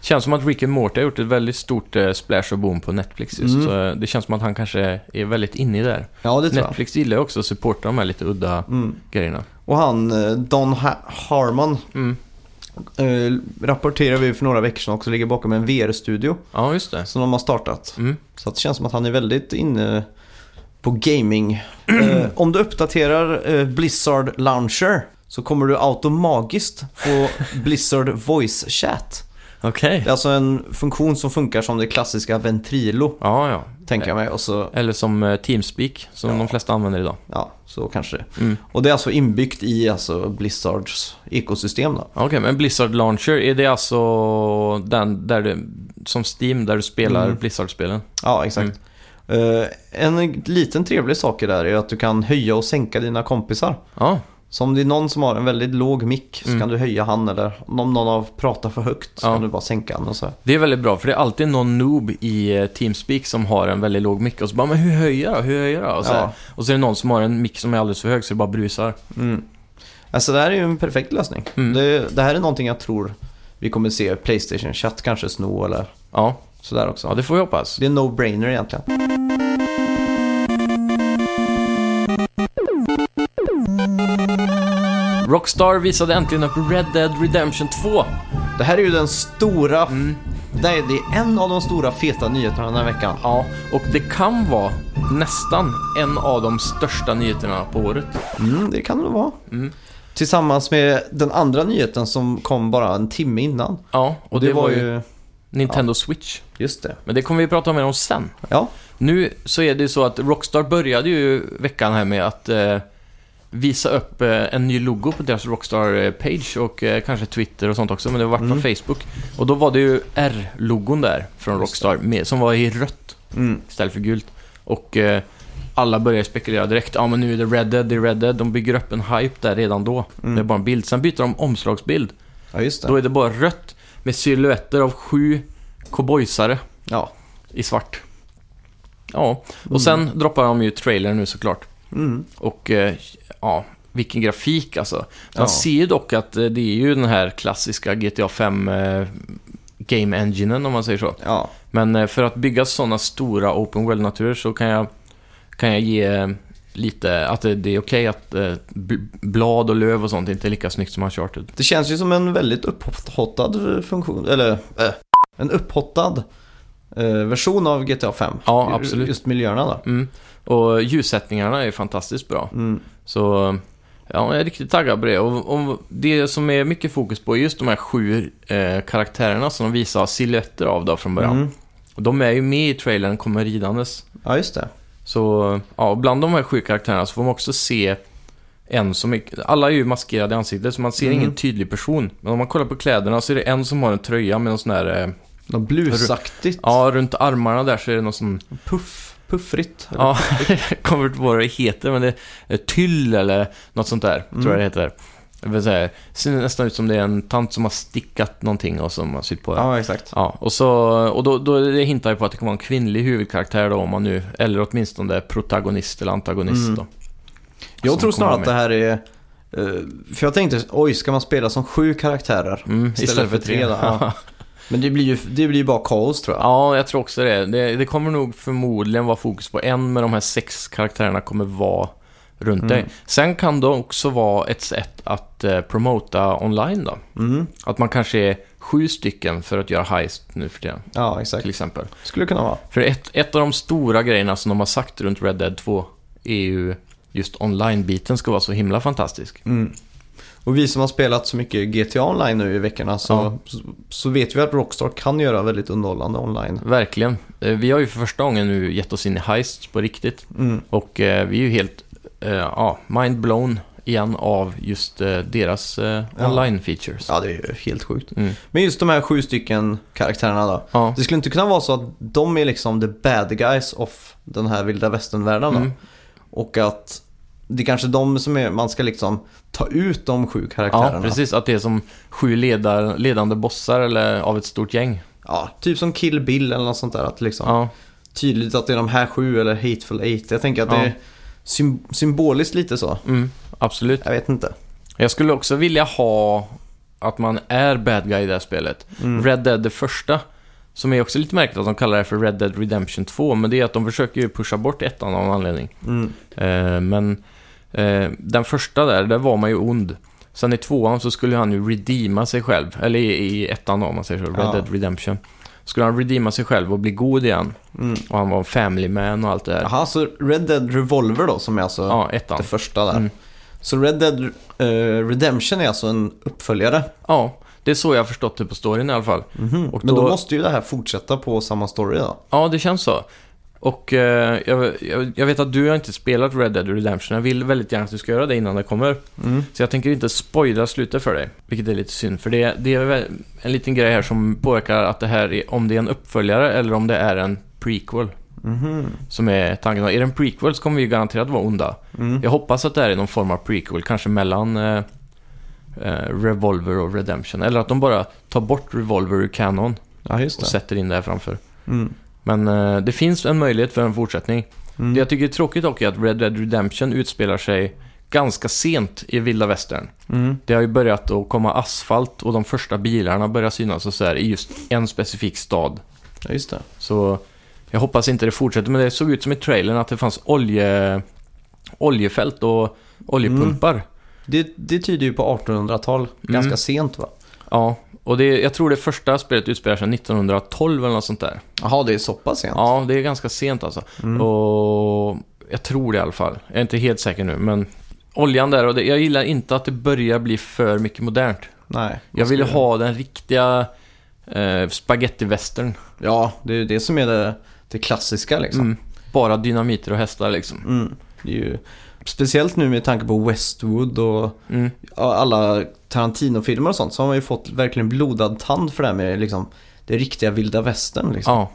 Speaker 1: Känns som att Rick and Morty har gjort ett väldigt stort eh, splash och boom på Netflix just.
Speaker 2: Mm.
Speaker 1: Så eh, det känns som att han kanske är väldigt inne i det här.
Speaker 2: Ja, det tror jag.
Speaker 1: Netflix gillar ju också att supporta de här lite udda
Speaker 2: Mm.
Speaker 1: grejerna.
Speaker 2: Och han, eh, Don ha- Harmon,
Speaker 1: Mm.
Speaker 2: eh, rapporterade vi för några veckor sedan också, ligger bakom en VR-studio
Speaker 1: Ja, just det.
Speaker 2: som de har startat.
Speaker 1: Mm.
Speaker 2: Så att det känns som att han är väldigt inne på
Speaker 1: *clears throat*
Speaker 2: gaming. Eh, om du uppdaterar eh, Blizzard Launcher så kommer du automatiskt
Speaker 1: *laughs*
Speaker 2: få Blizzard Voice Chat.
Speaker 1: Okej.
Speaker 2: Det är alltså en funktion som funkar som det klassiska Ventrilo,
Speaker 1: Ja, ja.
Speaker 2: tänker jag mig. Och så,
Speaker 1: Eller som eh, Teamspeak, som
Speaker 2: Ja.
Speaker 1: de flesta använder idag.
Speaker 2: ja, så kanske det.
Speaker 1: Mm.
Speaker 2: Och det är alltså inbyggt i alltså, Blizzards ekosystem. Då.
Speaker 1: Okej, men Blizzard Launcher, är det alltså den där du, som Steam, där du spelar
Speaker 2: Mm.
Speaker 1: Blizzard-spelen?
Speaker 2: Ja, exakt. Eh, en liten trevlig sak i det här är att du kan höja och sänka dina kompisar.
Speaker 1: Ja,
Speaker 2: Så om det är någon som har en väldigt låg mick så
Speaker 1: Mm.
Speaker 2: kan du höja han eller om någon har pratat för högt så
Speaker 1: Ja.
Speaker 2: kan du bara sänka han och så. här.
Speaker 1: det är väldigt bra, för det är alltid någon noob i eh, Teamspeak som har en väldigt låg mick och så bara, men hur höjer jag då? Hur höjer jag då?" och så, här.
Speaker 2: Ja.
Speaker 1: och så är det någon som har en mick som är alldeles för hög så det bara brusar.
Speaker 2: Mm. Alltså det här är ju en perfekt lösning.
Speaker 1: Mm.
Speaker 2: Det, det här är någonting jag tror vi kommer se Playstation Chat kanske sno eller
Speaker 1: Ja,
Speaker 2: sådär också.
Speaker 1: ja det får vi hoppas.
Speaker 2: Det är en no-brainer egentligen.
Speaker 1: Rockstar visade äntligen upp Red Dead Redemption 2.
Speaker 2: Det här är ju den stora...
Speaker 1: Mm.
Speaker 2: Nej, det är en av de stora feta nyheterna den här veckan.
Speaker 1: Ja, och det kan vara nästan en av de största nyheterna på året.
Speaker 2: Mm, det kan det nog vara.
Speaker 1: Mm.
Speaker 2: Tillsammans med den andra nyheten som kom bara en timme innan.
Speaker 1: Ja, och det, var ju Nintendo Switch.
Speaker 2: Just det.
Speaker 1: Men det kommer vi prata mer om sen.
Speaker 2: Ja.
Speaker 1: Nu så är det så att Rockstar började ju veckan här med att eh, visa upp eh, en ny logo på deras Rockstar-page och eh, kanske Twitter och sånt också, men det var på
Speaker 2: Mm.
Speaker 1: Facebook. Och då var det ju R-logon där från
Speaker 2: Just
Speaker 1: Rockstar med, som var i rött
Speaker 2: Mm.
Speaker 1: istället för gult. Och eh, alla började spekulera direkt. Ja, men nu är det Red Dead, det är Red Dead. De bygger upp en hype där redan då.
Speaker 2: Mm.
Speaker 1: Det är bara en bild. Sen byter de omslagsbild.
Speaker 2: Ja, just det.
Speaker 1: Då är det bara rött med silhuetter av sju cowboysare
Speaker 2: Ja.
Speaker 1: i svart. Ja, och sen droppar de ju trailern nu såklart.
Speaker 2: Mm.
Speaker 1: Och eh, ja, vilken grafik alltså. Man
Speaker 2: Ja.
Speaker 1: ser ju dock att eh, det är ju den här klassiska GTA 5 eh, Game Enginen om man säger så.
Speaker 2: Ja.
Speaker 1: Men eh, för att bygga sådana stora open world-naturer så kan jag, kan jag ge eh, lite att det det är okej att eh, bl- blad och löv och sånt inte är lika snyggt som Uncharted.
Speaker 2: Det känns ju som en väldigt upphottad funktion, eller äh, en upphottad eh, version av GTA 5.
Speaker 1: Ja, absolut.
Speaker 2: Just miljöerna då.
Speaker 1: Mm. Och ljussättningarna är fantastiskt bra.
Speaker 2: Mm.
Speaker 1: Så ja, jag är riktigt taggad på det. Och, och det som är mycket fokus på är just de här sju eh, karaktärerna som de visar silhuetter av då från början.
Speaker 2: Mm.
Speaker 1: Och de är ju med i trailern, kommer ridandes.
Speaker 2: Ja, just det.
Speaker 1: Så ja, och bland de här sju karaktärerna så får man också se en som är, alla är ju maskerade i ansiktet så man ser
Speaker 2: Mm.
Speaker 1: ingen tydlig person. Men om man kollar på kläderna så är det en som har en tröja med någon sån här, eh,
Speaker 2: Något blusaktigt.
Speaker 1: ja runt armarna där så är det någon sån,
Speaker 2: Puff, puffrigt.
Speaker 1: ja, *laughs* jag kommer inte på vad det heter men det är tyll eller något sånt där, tror
Speaker 2: Mm.
Speaker 1: jag det heter. Det vill säga, ser nästan ut som det är en tant som har stickat någonting och som har sytt på det.
Speaker 2: ja exakt.
Speaker 1: Ja, och, så, och då, då det hintar ju på att det kommer vara en kvinnlig huvudkaraktär då, om man nu, eller åtminstone protagonist eller antagonist
Speaker 2: Mm.
Speaker 1: då.
Speaker 2: Jag
Speaker 1: Som
Speaker 2: tror
Speaker 1: kommer
Speaker 2: snarare att det
Speaker 1: med.
Speaker 2: här är... eh, för jag tänkte, oj, ska man spela som sju karaktärer?
Speaker 1: Mm,
Speaker 2: Istället för tre då, ja.
Speaker 1: ja.
Speaker 2: Men det blir ju, det blir ju bara kaos tror
Speaker 1: *laughs*
Speaker 2: jag.
Speaker 1: ja, jag tror också det. det. Det kommer nog förmodligen vara fokus på en, men de här sex karaktärerna kommer vara runt
Speaker 2: Mm.
Speaker 1: dig. Sen kan det också vara ett sätt att eh, promota online då.
Speaker 2: Mm.
Speaker 1: Att man kanske är sju stycken för att göra heist nu för tiden,
Speaker 2: Ja,
Speaker 1: till
Speaker 2: exakt.
Speaker 1: exempel.
Speaker 2: Skulle kunna vara.
Speaker 1: För ett, ett av de stora grejerna som de har sagt runt Red Dead 2 är ju just online-biten ska vara så himla fantastisk.
Speaker 2: Mm. Och vi som har spelat så mycket GTA Online nu i veckorna så,
Speaker 1: Ja.
Speaker 2: så, så vet vi att Rockstar kan göra väldigt underhållande online.
Speaker 1: Verkligen. Eh, Vi har ju för första gången nu gett oss in i heists på riktigt.
Speaker 2: Mm.
Speaker 1: Och eh, vi är ju helt eh, ja, mind-blown igen av just eh, deras eh,
Speaker 2: Ja.
Speaker 1: online-features.
Speaker 2: Ja, det är ju helt sjukt.
Speaker 1: Mm.
Speaker 2: Men just de här sju stycken karaktärerna då.
Speaker 1: Ja.
Speaker 2: Det skulle inte kunna vara så att de är liksom the bad guys of den här vilda västern-världen då.
Speaker 1: Mm.
Speaker 2: Och att det är kanske de som är, man ska liksom ta ut de sju karaktärerna.
Speaker 1: ja, precis. Att det är som sju ledar, ledande bossar eller, av ett stort gäng.
Speaker 2: Ja, typ som Kill Bill eller något sånt där. Att liksom,
Speaker 1: Ja,
Speaker 2: Tydligt att det är de här sju eller Hateful Eight. Jag tänker att
Speaker 1: Ja.
Speaker 2: det är sym- symboliskt lite så.
Speaker 1: mm, absolut.
Speaker 2: Jag vet inte.
Speaker 1: Jag skulle också vilja ha att man är bad guy i det här spelet.
Speaker 2: Mm.
Speaker 1: Red Dead det första, som är också lite märkligt att de kallar det för Red Dead Redemption 2, men det är att de försöker ju pusha bort ettan av en anledning.
Speaker 2: Mm.
Speaker 1: Eh, men eh, den första där, där var man ju ond. Sen i tvåan så skulle han ju redeema sig själv, eller i, i ettan då, om man säger så, Red
Speaker 2: Ja.
Speaker 1: Dead Redemption. Skulle han redeema sig själv och bli god igen.
Speaker 2: Mm.
Speaker 1: Och han var en family man och allt det där.
Speaker 2: Jaha, så Red Dead Revolver då som är alltså
Speaker 1: Ja, ettan.
Speaker 2: det första där.
Speaker 1: Mm.
Speaker 2: Så Red Dead eh, Redemption är alltså en uppföljare.
Speaker 1: Ja, det är så jag har förstått det på storyn i alla fall.
Speaker 2: Och
Speaker 1: Och Mhm.
Speaker 2: Men då
Speaker 1: då-
Speaker 2: måste ju det här fortsätta på samma story då.
Speaker 1: Ja, det känns så. Och eh, jag, jag, jag vet att du har inte spelat Red Dead Redemption. Jag vill väldigt gärna att du ska göra det innan det kommer. Så jag tänker inte spoila slutet för dig. Vilket är lite synd, för det, det är väl en liten grej här som påverkar att det här är, om det är en uppföljare eller om det är en prequel.
Speaker 2: Mhm.
Speaker 1: Som är tanken. Är det en prequel så kommer vi ju garanterat vara onda.
Speaker 2: Mm.
Speaker 1: Jag hoppas att det här är någon form av prequel, kanske mellan eh, eh, Revolver och Redemption. Eller att de bara tar bort Revolver ur kanon
Speaker 2: Ja, just
Speaker 1: och
Speaker 2: det.
Speaker 1: sätter in det här framför.
Speaker 2: Mm.
Speaker 1: Men eh, det finns en möjlighet för en fortsättning.
Speaker 2: Mm.
Speaker 1: Det jag tycker är tråkigt dock är att Red Dead Redemption utspelar sig ganska sent i vilda västern.
Speaker 2: Mm.
Speaker 1: Det har ju börjat att komma asfalt och de första bilarna börjar synas och så här i just en specifik stad.
Speaker 2: Ja, just det.
Speaker 1: Så jag hoppas inte det fortsätter, men det såg ut som i trailern att det fanns olje, oljefält och oljepumpar.
Speaker 2: det. Det tyder ju på 1800-tal.
Speaker 1: Mm.
Speaker 2: Ganska sent va?
Speaker 1: Ja, och det, jag tror det första spelet utspelar sig 1912 eller något sånt där.
Speaker 2: Jaha, det är så pass sent?
Speaker 1: Ja, det är ganska sent alltså. Och jag tror det i alla fall. Jag är inte helt säker nu, men oljan där och det, jag gillar inte att det börjar bli för mycket modernt.
Speaker 2: Nej.
Speaker 1: Jag vill
Speaker 2: Måste-
Speaker 1: ha den riktiga eh, spagettivästern.
Speaker 2: Ja, det är ju det som är det, det klassiska liksom.
Speaker 1: Mm. Bara dynamiter och hästar liksom.
Speaker 2: Mm. Det är ju, speciellt nu med tanke på Westwood och
Speaker 1: Mm.
Speaker 2: alla Tarantino-filmer och sånt så har man ju fått verkligen blodad tand för det här med liksom, det riktiga vilda västern. Liksom.
Speaker 1: Ja.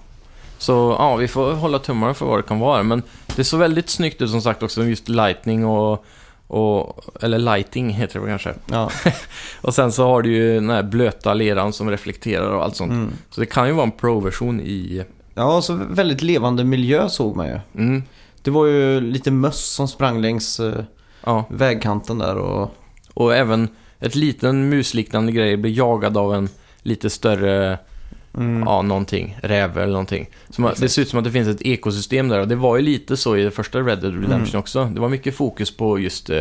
Speaker 1: Så ja, vi får hålla tummarna för vad det kan vara. Men det såg väldigt snyggt ut som sagt också, just lightning och... och eller lighting heter det väl kanske.
Speaker 2: Ja.
Speaker 1: *laughs* Och sen så har du ju den här blöta leran som reflekterar och allt sånt.
Speaker 2: Mm.
Speaker 1: Så det kan ju vara en pro-version i...
Speaker 2: ja, och så väldigt levande miljö såg man ju.
Speaker 1: Mm,
Speaker 2: Det var ju lite möss som sprang längs eh,
Speaker 1: ja.
Speaker 2: vägkanten där och...
Speaker 1: Och även ett liten musliknande grej blir jagad av en lite större,
Speaker 2: Mm.
Speaker 1: ja, någonting, räv eller någonting. Så man, det
Speaker 2: Exakt.
Speaker 1: ser ut som att det finns ett ekosystem där och det var ju lite så i det första Red Dead Redemption
Speaker 2: Mm.
Speaker 1: också. Det var mycket fokus på just eh,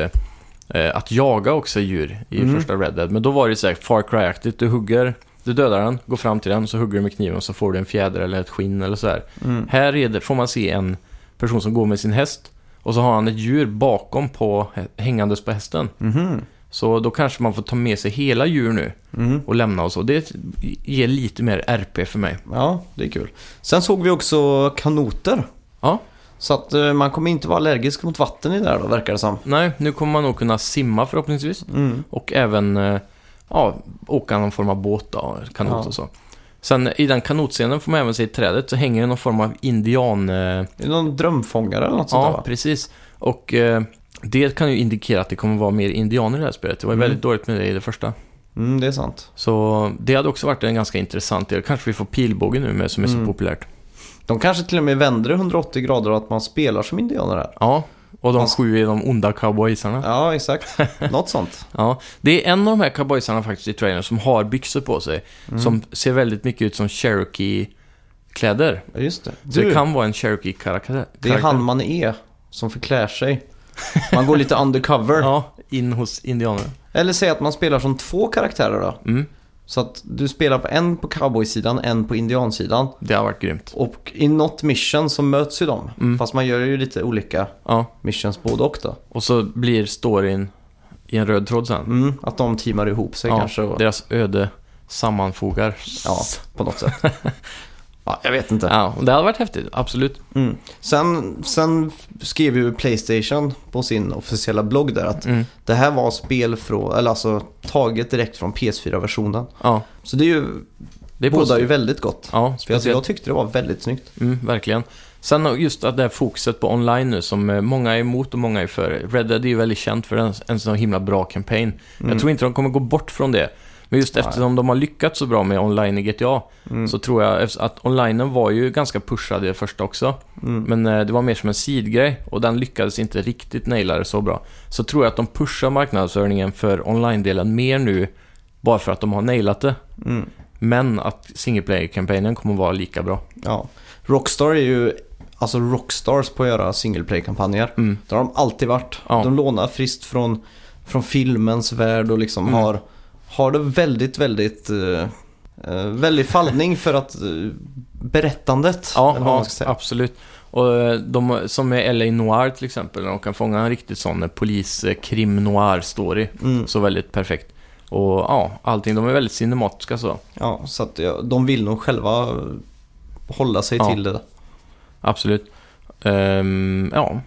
Speaker 1: eh, att jaga också djur i
Speaker 2: Mm.
Speaker 1: första Red Dead. Men då var det så här Far Cry-aktigt, du hugger, du dödar den, går fram till den, så hugger du med kniven och så får du en fjäder eller ett skinn eller så här.
Speaker 2: Mm.
Speaker 1: Här är det, får man se en person som går med sin häst och så har han ett djur bakom på hä- hängandes på hästen.
Speaker 2: Mhm.
Speaker 1: Så då kanske man får ta med sig hela djur nu
Speaker 2: Mm.
Speaker 1: och lämna och så. Det ger lite mer RP för mig.
Speaker 2: Ja, det är kul. Sen såg vi också kanoter.
Speaker 1: Ja.
Speaker 2: Så att eh, man kommer inte vara allergisk mot vatten i det här då, verkar det som. Mm.
Speaker 1: Nej, nu kommer man nog kunna simma förhoppningsvis och även eh, ja, åka någon form av båt då, kanot
Speaker 2: Ja.
Speaker 1: och så. Sen i den kanotscenen får man även se i trädet så hänger det någon form av indian... Eh,
Speaker 2: Det är någon drömfångare eller något sånt där
Speaker 1: ja,
Speaker 2: va?
Speaker 1: precis. Och eh, det kan ju indikera att det kommer vara mer indianer i det här spelet. Det var ju
Speaker 2: Mm.
Speaker 1: väldigt dåligt med det i det första.
Speaker 2: Mm, det är sant.
Speaker 1: Så det hade också varit en ganska intressant del. Kanske vi får pilbåge nu med som är så
Speaker 2: Mm.
Speaker 1: populärt.
Speaker 2: De kanske till och med vänder det 180 grader och att man spelar som indianer här.
Speaker 1: Ja, och de
Speaker 2: Man-
Speaker 1: sju är de onda cowboysarna. *laughs*
Speaker 2: Ja, exakt. Något sånt.
Speaker 1: Ja, det är en av de här cowboysarna faktiskt i trailern som har byxor på sig.
Speaker 2: Mm.
Speaker 1: Som ser väldigt mycket ut som Cherokee-kläder.
Speaker 2: Ja, just det.
Speaker 1: Så
Speaker 2: Du,
Speaker 1: det kan vara en Cherokee-karaktär.
Speaker 2: det är han man är som förklär sig. Man går lite undercover.
Speaker 1: *laughs* Ja, in hos indianerna.
Speaker 2: Eller säg att man spelar som två karaktärer då.
Speaker 1: Mm,
Speaker 2: Så att du spelar på en på cowboysidan, en på indiansidan.
Speaker 1: det har varit grymt.
Speaker 2: Och i något mission så möts ju de.
Speaker 1: Mm.
Speaker 2: Fast man gör ju lite olika
Speaker 1: Ja,
Speaker 2: missions både och då.
Speaker 1: och så blir storyn i en röd tråd sen.
Speaker 2: Mm, att de teamar ihop sig
Speaker 1: Ja,
Speaker 2: kanske. Och,
Speaker 1: Deras öde sammanfogar.
Speaker 2: Ja,
Speaker 1: *laughs*
Speaker 2: på något sätt. ja, jag vet inte.
Speaker 1: Ja, och det hade varit häftigt, absolut.
Speaker 2: Mm. Sen, sen skrev ju Playstation på sin officiella blogg där att
Speaker 1: Mm.
Speaker 2: det här var spel från, eller alltså taget direkt från PS4-versionen.
Speaker 1: Ja,
Speaker 2: Så det är ju,
Speaker 1: det är
Speaker 2: båda
Speaker 1: positivt.
Speaker 2: ju väldigt gott.
Speaker 1: Ja,
Speaker 2: För alltså,
Speaker 1: speciellt.
Speaker 2: jag tyckte det var väldigt snyggt.
Speaker 1: Mm, verkligen. Sen just att det här fokuset på online nu som eh, många är emot och många är för. Red Dead är ju väldigt känt för en, en sån himla bra kampanj. Jag tror inte de kommer gå bort från det. Men just
Speaker 2: Mm. Nej.
Speaker 1: eftersom de har lyckats så bra med online i GTA
Speaker 2: Mm.
Speaker 1: så tror jag efter- att onlinen var ju ganska pushad i det första också.
Speaker 2: Mm.
Speaker 1: Men eh, det var mer som en sidgrej och den lyckades inte riktigt naila det så bra. Så tror jag att de pushar marknadsföringen för online-delen mer nu bara för att de har nailat det.
Speaker 2: Mm.
Speaker 1: Men att single player-kampanjen kommer vara lika bra.
Speaker 2: Ja. Rockstar är ju alltså rockstars på att göra single play-kampanjer.
Speaker 1: Mm.
Speaker 2: Det har de alltid varit.
Speaker 1: Ja.
Speaker 2: De lånar friskt från, från filmens värld och liksom
Speaker 1: Mm.
Speaker 2: har, har det väldigt, väldigt, eh, eh, väldigt fallning för att eh, berättandet.
Speaker 1: Ja,
Speaker 2: eller vad
Speaker 1: ja
Speaker 2: man ska säga.
Speaker 1: absolut. Och eh, de som är LA Noir till exempel, de kan fånga en riktigt sån eh, polis eh, krim noir story.
Speaker 2: Mm.
Speaker 1: Så väldigt perfekt. Och ja, allting, de är väldigt cinematiska så.
Speaker 2: ja, så att ja, de vill nog själva eh, hålla sig
Speaker 1: Ja,
Speaker 2: till det.
Speaker 1: Absolut. Ehm, ja,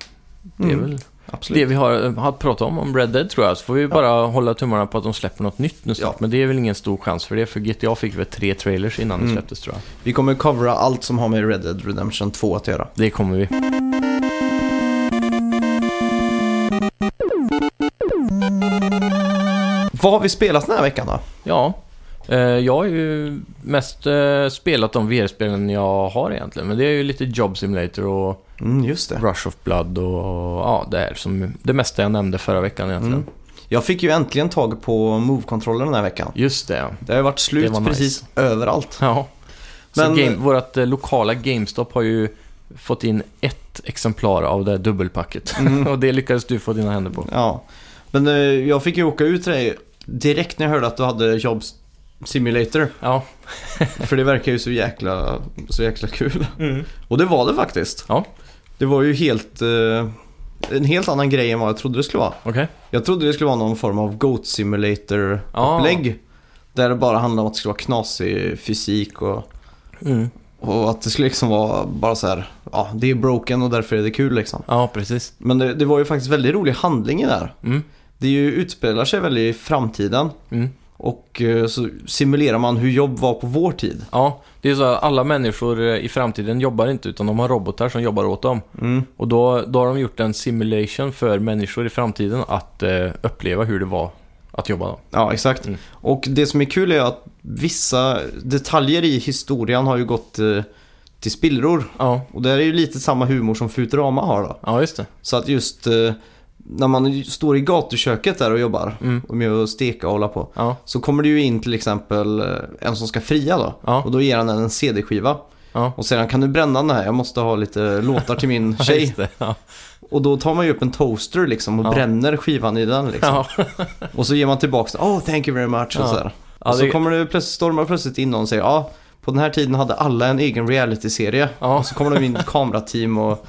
Speaker 1: det är
Speaker 2: Mm,
Speaker 1: väl
Speaker 2: Absolut.
Speaker 1: det vi har, eh, har pratat om, om Red Dead tror jag. Så får vi bara hålla tummarna på att de släpper något nytt nu snart.
Speaker 2: Ja.
Speaker 1: Men det är väl ingen stor chans för det, för GTA fick väl tre trailers innan det
Speaker 2: Mm.
Speaker 1: släpptes tror jag.
Speaker 2: Vi kommer covera allt som har med Red Dead Redemption 2 att göra.
Speaker 1: Det kommer vi.
Speaker 2: Vad har vi spelat den här veckan då?
Speaker 1: Ja, eh, jag har ju mest eh, spelat de VR-spelen jag har egentligen. Men det är ju lite Job Simulator och
Speaker 2: Mm, just det.
Speaker 1: Rush of Blood och, och ja, det här som det mesta jag nämnde förra veckan egentligen.
Speaker 2: Mm. Jag fick ju äntligen tag på Move-kontrollen den här veckan.
Speaker 1: Just det, ja.
Speaker 2: Det har ju varit
Speaker 1: Det
Speaker 2: slut
Speaker 1: var nice.
Speaker 2: precis överallt.
Speaker 1: ja. Men...
Speaker 2: Men-
Speaker 1: Så game, vårt eh, lokala GameStop har ju fått in ett exemplar av det här dubbelpacket. *laughs* och det lyckades du få dina händer på.
Speaker 2: Ja. Men eh, jag fick ju åka ut till dig direkt när jag hörde att du hade Job Simulator.
Speaker 1: Ja,
Speaker 2: För det verkar ju så jäkla, så jäkla kul. Och det var det faktiskt.
Speaker 1: Ja.
Speaker 2: Det var ju helt... eh, en helt annan grej än vad jag trodde det skulle vara.
Speaker 1: okej.
Speaker 2: Jag trodde det skulle vara någon form av Goat Simulator-upplägg. Där det bara handlade om att det skulle vara knasig fysik och...
Speaker 1: Mm.
Speaker 2: Och att det skulle liksom vara bara så här, ja det är broken och därför är det kul liksom.
Speaker 1: Ja, precis.
Speaker 2: Men det, det var ju faktiskt väldigt rolig handling i det här.
Speaker 1: Mm.
Speaker 2: Det ju utspelar sig väldigt i framtiden
Speaker 1: Mm.
Speaker 2: och eh, så simulerar man hur jobb var på vår tid.
Speaker 1: Ja, det är så att alla människor eh, i framtiden jobbar inte utan de har robotar som jobbar åt dem.
Speaker 2: Mm.
Speaker 1: Och då, då har de gjort en simulation för människor i framtiden att eh, uppleva hur det var att jobba då.
Speaker 2: Ja, exakt.
Speaker 1: Mm.
Speaker 2: Och det som är kul är att vissa detaljer i historien har ju gått eh, till spillror.
Speaker 1: Ja,
Speaker 2: Och det är ju lite samma humor som Futurama har då.
Speaker 1: ja just det.
Speaker 2: Så att just eh, när man ju står i gatuköket där och jobbar
Speaker 1: Mm.
Speaker 2: och med att steka och hålla på.
Speaker 1: Ja,
Speaker 2: Så kommer det ju in till exempel eh, en som ska fria då.
Speaker 1: Ja.
Speaker 2: Och då ger han henne en CD-skiva.
Speaker 1: ja.
Speaker 2: Och sedan kan du bränna den här, jag måste ha lite låtar till min
Speaker 1: *laughs* Ja,
Speaker 2: tjej.
Speaker 1: just det. Ja.
Speaker 2: Och då tar man ju upp en toaster liksom och
Speaker 1: Ja.
Speaker 2: bränner skivan i den liksom.
Speaker 1: Ja.
Speaker 2: Och så ger man tillbaka den, oh thank you very much
Speaker 1: Ja.
Speaker 2: och sådär.
Speaker 1: Ja,
Speaker 2: och så
Speaker 1: det-
Speaker 2: kommer det plötsligt, stormar plötsligt in någon och säger ja, på den här tiden hade alla en egen reality-serie.
Speaker 1: Ja.
Speaker 2: Och så kommer de in i ett kamerateam och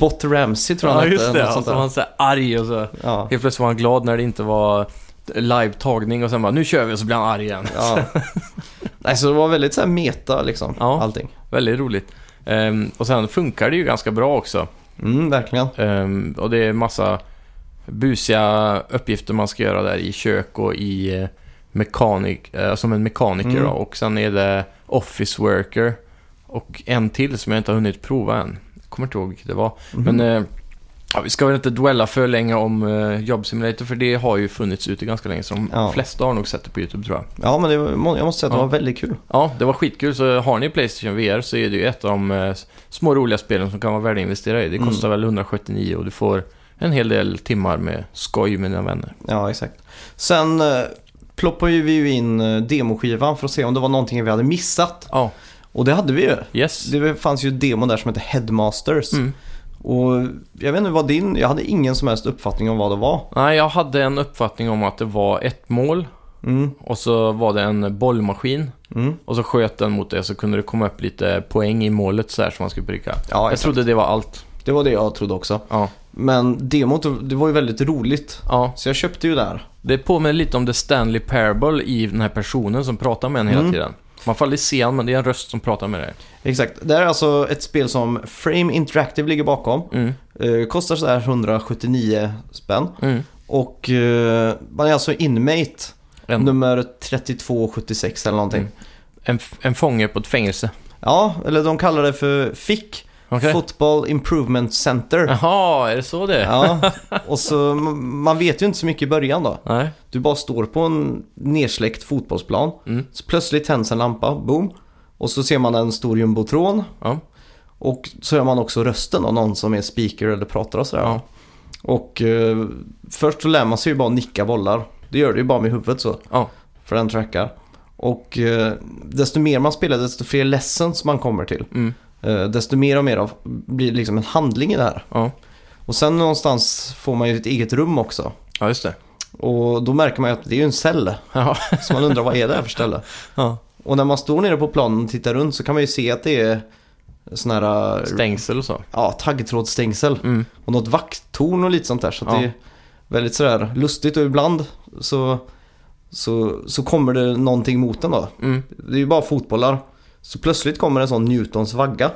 Speaker 2: Bot Ramsey tror jag
Speaker 1: ja,
Speaker 2: han
Speaker 1: just
Speaker 2: hette.
Speaker 1: det. alltså,
Speaker 2: något
Speaker 1: Och så var
Speaker 2: sånt där.
Speaker 1: han så här arg och så.
Speaker 2: Ja.
Speaker 1: Helt plötsligt var han glad när det inte var live-tagning och sen bara nu kör vi och så blir han arg igen.
Speaker 2: Ja. Nej, så det var väldigt så här meta liksom,
Speaker 1: Ja.
Speaker 2: allting.
Speaker 1: Väldigt roligt. Ehm, och sen funkar det ju ganska bra också.
Speaker 2: Mm, verkligen.
Speaker 1: Ehm, och det är massa busiga uppgifter man ska göra där i kök och i eh, mekanik, eh, som en mekaniker
Speaker 2: Mm.
Speaker 1: då. Och sen är det office worker och en till som jag inte har hunnit prova än. Jag kommer inte ihåg vilket det var.
Speaker 2: Mhm. Mm.
Speaker 1: Men eh, ja, vi ska väl inte dwella för länge om eh, Job Simulator för det har ju funnits ute ganska länge. Så de
Speaker 2: Ja.
Speaker 1: flesta har nog sett det på YouTube tror jag.
Speaker 2: Ja, men det var, jag måste säga att det
Speaker 1: Ja.
Speaker 2: var väldigt kul.
Speaker 1: Ja, det var skitkul. Så har ni Playstation VR så är det ju ett av de eh, små roliga spelen som kan vara värda att investera i.
Speaker 2: Mm.
Speaker 1: Det kostar väl 179 och du får en hel del timmar med skoj med dina vänner.
Speaker 2: Ja, exakt. Sen eh, ploppade ju vi ju in eh, demoskivan för att se om det var någonting vi hade missat.
Speaker 1: Ja,
Speaker 2: Och det hade vi ju.
Speaker 1: yes.
Speaker 2: Det fanns ju en demo där som hette Headmasters.
Speaker 1: Mm.
Speaker 2: Och jag vet inte vad din... Jag hade ingen som helst uppfattning om vad det var.
Speaker 1: Nej, jag hade en uppfattning om att det var ett mål
Speaker 2: Mm,
Speaker 1: och så var det en bollmaskin
Speaker 2: mm.
Speaker 1: och så sköt den mot det så kunde det komma upp lite poäng i målet så här som man skulle pricka.
Speaker 2: Ja,
Speaker 1: jag
Speaker 2: exakt.
Speaker 1: trodde det var allt.
Speaker 2: Det var det jag trodde också.
Speaker 1: Ja,
Speaker 2: Men demot, det var ju väldigt roligt.
Speaker 1: Ja,
Speaker 2: Så jag köpte ju där.
Speaker 1: det påminner lite om The Stanley Parable i den här personen som pratar med en hela
Speaker 2: Mm.
Speaker 1: tiden. Man får aldrig se honom, men det är en röst som pratar med dig.
Speaker 2: Exakt. Det här är alltså ett spel som Frame Interactive ligger bakom.
Speaker 1: Mm,
Speaker 2: Eh, kostar sådär 179 spänn.
Speaker 1: mm.
Speaker 2: Och eh, man är alltså inmate
Speaker 1: En,
Speaker 2: nummer 3276 eller någonting.
Speaker 1: Mm. en, f- en fånge på ett fängelse.
Speaker 2: Ja, eller de kallar det för FIC,
Speaker 1: Okej.
Speaker 2: Football Improvement Center.
Speaker 1: Jaha, är det så det är?
Speaker 2: Ja, och så man vet ju inte så mycket i början då.
Speaker 1: Nej.
Speaker 2: Du bara står på en nersläckt fotbollsplan.
Speaker 1: Mm.
Speaker 2: Så plötsligt tänds en lampa, boom. Och så ser man en stor jumbotron.
Speaker 1: Ja.
Speaker 2: Och så hör man också rösten av någon som är speaker eller pratar och sådär.
Speaker 1: Ja.
Speaker 2: Och eh, först så lär man sig ju bara nicka bollar. Det gör du ju bara med huvudet så.
Speaker 1: Ja.
Speaker 2: För den trackar. Och eh, desto mer man spelar, desto fler lessons man kommer till.
Speaker 1: Mm.
Speaker 2: Eh, desto mer och mer av, blir det liksom en handling i det här.
Speaker 1: Ja.
Speaker 2: Och sen någonstans får man ju ett eget rum också.
Speaker 1: ja, just det.
Speaker 2: Och då märker man ju att det är ju en cell.
Speaker 1: Ja.
Speaker 2: Så man undrar vad är det här för ställe?
Speaker 1: *laughs* Ja.
Speaker 2: Och när man står nere på planen och tittar runt så kan man ju se att det är sån här
Speaker 1: *laughs*
Speaker 2: eh,
Speaker 1: Stängsel och så.
Speaker 2: ja, taggtrådsstängsel.
Speaker 1: Mm.
Speaker 2: Och något vakttorn och lite sånt där. Så att
Speaker 1: Ja.
Speaker 2: det är väldigt sådär lustigt och ibland så, så, så kommer det någonting mot en då.
Speaker 1: Mm.
Speaker 2: Det är ju bara fotbollar. Så plötsligt kommer en sån Newtons vagga.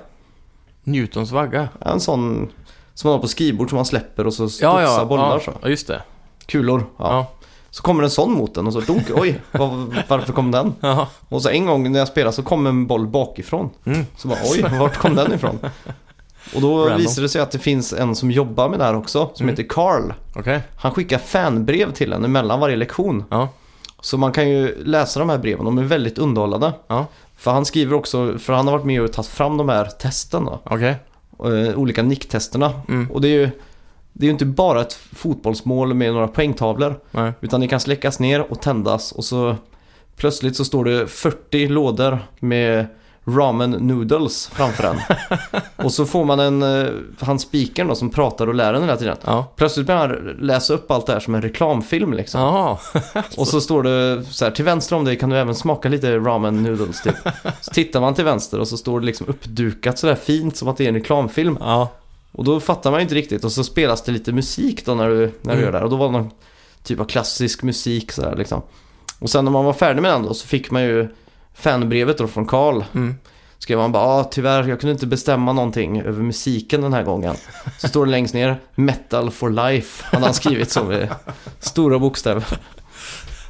Speaker 1: Newtons vagga.
Speaker 2: En sån som man har på skrivbord som man släpper och så studsar bollar så.
Speaker 1: ja, just det.
Speaker 2: Kulor. Ja.
Speaker 1: Ja.
Speaker 2: Så kommer en sån mot en och så dunk, oj, var, varför kom den?
Speaker 1: Ja.
Speaker 2: Och så en gång när jag spelade så kom en boll bakifrån.
Speaker 1: Mm.
Speaker 2: Så bara, oj, vart kom den ifrån? Och då
Speaker 1: Random.
Speaker 2: visade det sig att det finns en som jobbar med det här också, som
Speaker 1: Mm.
Speaker 2: heter Carl.
Speaker 1: Okej.
Speaker 2: Han skickar fanbrev till henne mellan varje lektion.
Speaker 1: Ja.
Speaker 2: Så man kan ju läsa de här breven, de är väldigt underhållande.
Speaker 1: Ja.
Speaker 2: För han skriver också, för han har varit med och tagit fram de här testen då.
Speaker 1: Okej.
Speaker 2: Eh, olika nicktesterna.
Speaker 1: Mm.
Speaker 2: Och det är ju det är ju inte bara ett fotbollsmål med några poängtavlor.
Speaker 1: Nej.
Speaker 2: Utan det kan släckas ner och tändas och så plötsligt så står det 40 lådor med ramen noodles framför en. och så får man en, eh, han spikern då som pratar och lär en hela tiden.
Speaker 1: Ja.
Speaker 2: Plötsligt börjar han läsa upp allt det här som en reklamfilm liksom.
Speaker 1: Jaha.
Speaker 2: Och så står det så här, till vänster om dig kan du även smaka lite ramen noodles typ. Så tittar man till vänster och så står det liksom uppdukat sådär fint som att det är en reklamfilm.
Speaker 1: Ja.
Speaker 2: Och då fattar man ju inte riktigt och så spelas det lite musik då när du, när du
Speaker 1: Mm.
Speaker 2: gör det här. Och då var det någon typ av klassisk musik sådär liksom. Och sen när man var färdig med den då så fick man ju fanbrevet då från Karl.
Speaker 1: Mm.
Speaker 2: Skrev han bara ah, tyvärr jag kunde inte bestämma någonting över musiken den här gången. Så står det längst ner Metal for life hade han skrivit så med stora bokstäver.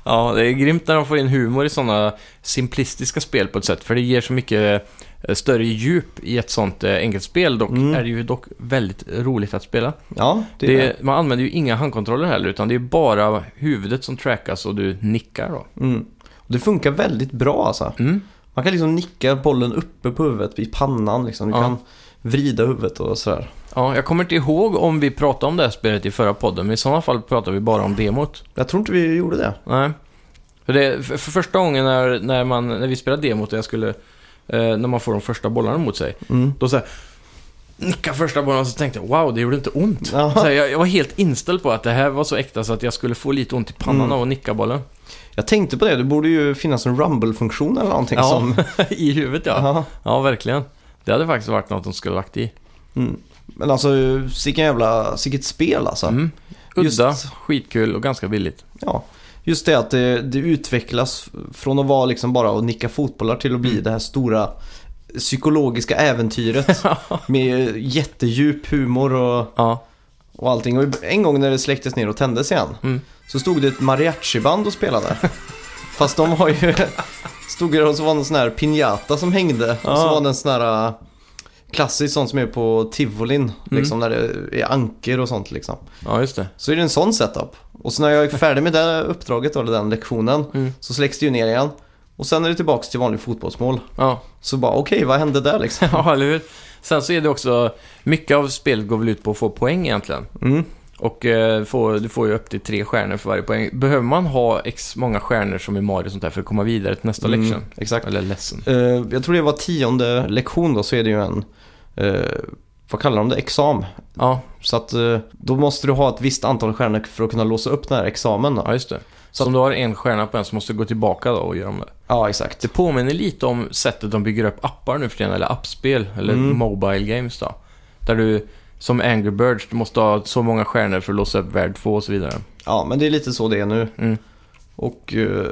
Speaker 1: Ja, det är grymt när de får in humor i sådana simplistiska spel på ett sätt. För det ger så mycket eh, större djup i ett sånt eh, enkelt spel. Dock
Speaker 2: Mm.
Speaker 1: är det ju dock väldigt roligt att spela.
Speaker 2: Ja, det,
Speaker 1: Det
Speaker 2: är det.
Speaker 1: man använder ju inga handkontroller heller, utan det är bara huvudet som trackas och du nickar då.
Speaker 2: Mm. Och det funkar väldigt bra alltså.
Speaker 1: Mm.
Speaker 2: Man kan liksom nicka bollen uppe på huvudet i pannan liksom. Du
Speaker 1: Ja.
Speaker 2: kan vrida huvudet och sådär.
Speaker 1: Ja, jag kommer inte ihåg om vi pratade om det här spelet i förra podden, men i sådana fall pratade vi bara om demot.
Speaker 2: Jag tror inte vi gjorde det.
Speaker 1: Nej. För, det, för, för första gången när, när, man, när vi spelade demot och jag skulle... Eh, när man får de första bollarna mot sig.
Speaker 2: Mm.
Speaker 1: Då så här, nicka första bollen och så tänkte jag wow, det gjorde inte ont. Så
Speaker 2: Ja.
Speaker 1: här, jag, jag var helt inställd på att det här var så äkta så att jag skulle få lite ont i pannan
Speaker 2: Mm.
Speaker 1: av att nicka bollen.
Speaker 2: Jag tänkte på det, det borde ju finnas en rumble-funktion eller någonting
Speaker 1: Ja.
Speaker 2: som...
Speaker 1: *laughs* I huvudet ja.
Speaker 2: Ja.
Speaker 1: Ja, verkligen. Det hade faktiskt varit något de skulle lagt i.
Speaker 2: Mm. Men alltså, vilken jävla, vilket spel alltså.
Speaker 1: Mm.
Speaker 2: Just-
Speaker 1: Udda, skitkul och ganska billigt.
Speaker 2: Ja. Just det att det, det utvecklas från att vara liksom bara att nicka fotbollar till att
Speaker 1: Mm.
Speaker 2: bli det här stora psykologiska
Speaker 1: *laughs*
Speaker 2: äventyret med jättedjup humor och,
Speaker 1: Ja,
Speaker 2: och allting. Och en gång när det släcktes ner och tändes igen
Speaker 1: Mm.
Speaker 2: så stod det ett mariachiband
Speaker 1: *laughs*
Speaker 2: och spelade. Fast de har ju... Stod det och så var det en sån här piñata som hängde. Och så
Speaker 1: Ja.
Speaker 2: var det en sån här äh, klassisk sån som är på tivolin.
Speaker 1: Mm.
Speaker 2: Liksom när det är anker och sånt liksom.
Speaker 1: ja just det.
Speaker 2: Så är det en sån setup. Och så när jag är färdig med det uppdraget då, eller den lektionen
Speaker 1: Mm.
Speaker 2: så släcks det ju ner igen. Och sen är det tillbaks till vanligt fotbollsmål.
Speaker 1: Ja. *laughs*
Speaker 2: Så bara okej, vad hände där liksom?
Speaker 1: ja, eller hur? Sen så är det också, mycket av spelet går väl ut på att få poäng egentligen.
Speaker 2: Mm.
Speaker 1: Och eh, får, du får ju upp till tre stjärnor för varje poäng. Behöver man ha x många stjärnor som i Mario och sånt där för att komma vidare till nästa lektion?
Speaker 2: Mm, exakt.
Speaker 1: Eller lesson.
Speaker 2: Eh, jag tror det var tionde lektion då så är det ju en, eh, vad kallar de det, exam.
Speaker 1: Ja,
Speaker 2: Så att eh, då måste du ha ett visst antal stjärnor för att kunna låsa upp den här examen. Då.
Speaker 1: ja just det. Så om du har en stjärna på en så måste du gå tillbaka då och göra om det.
Speaker 2: Ja, exakt.
Speaker 1: Det påminner lite om sättet de bygger upp appar nu för tiden, eller appspel, eller
Speaker 2: Mm.
Speaker 1: mobile games då. Där du Som Angry Birds, du måste ha så många stjärnor för att låsa upp värld 2 och så vidare.
Speaker 2: Ja, men det är lite så det är nu.
Speaker 1: Mm.
Speaker 2: Och eh,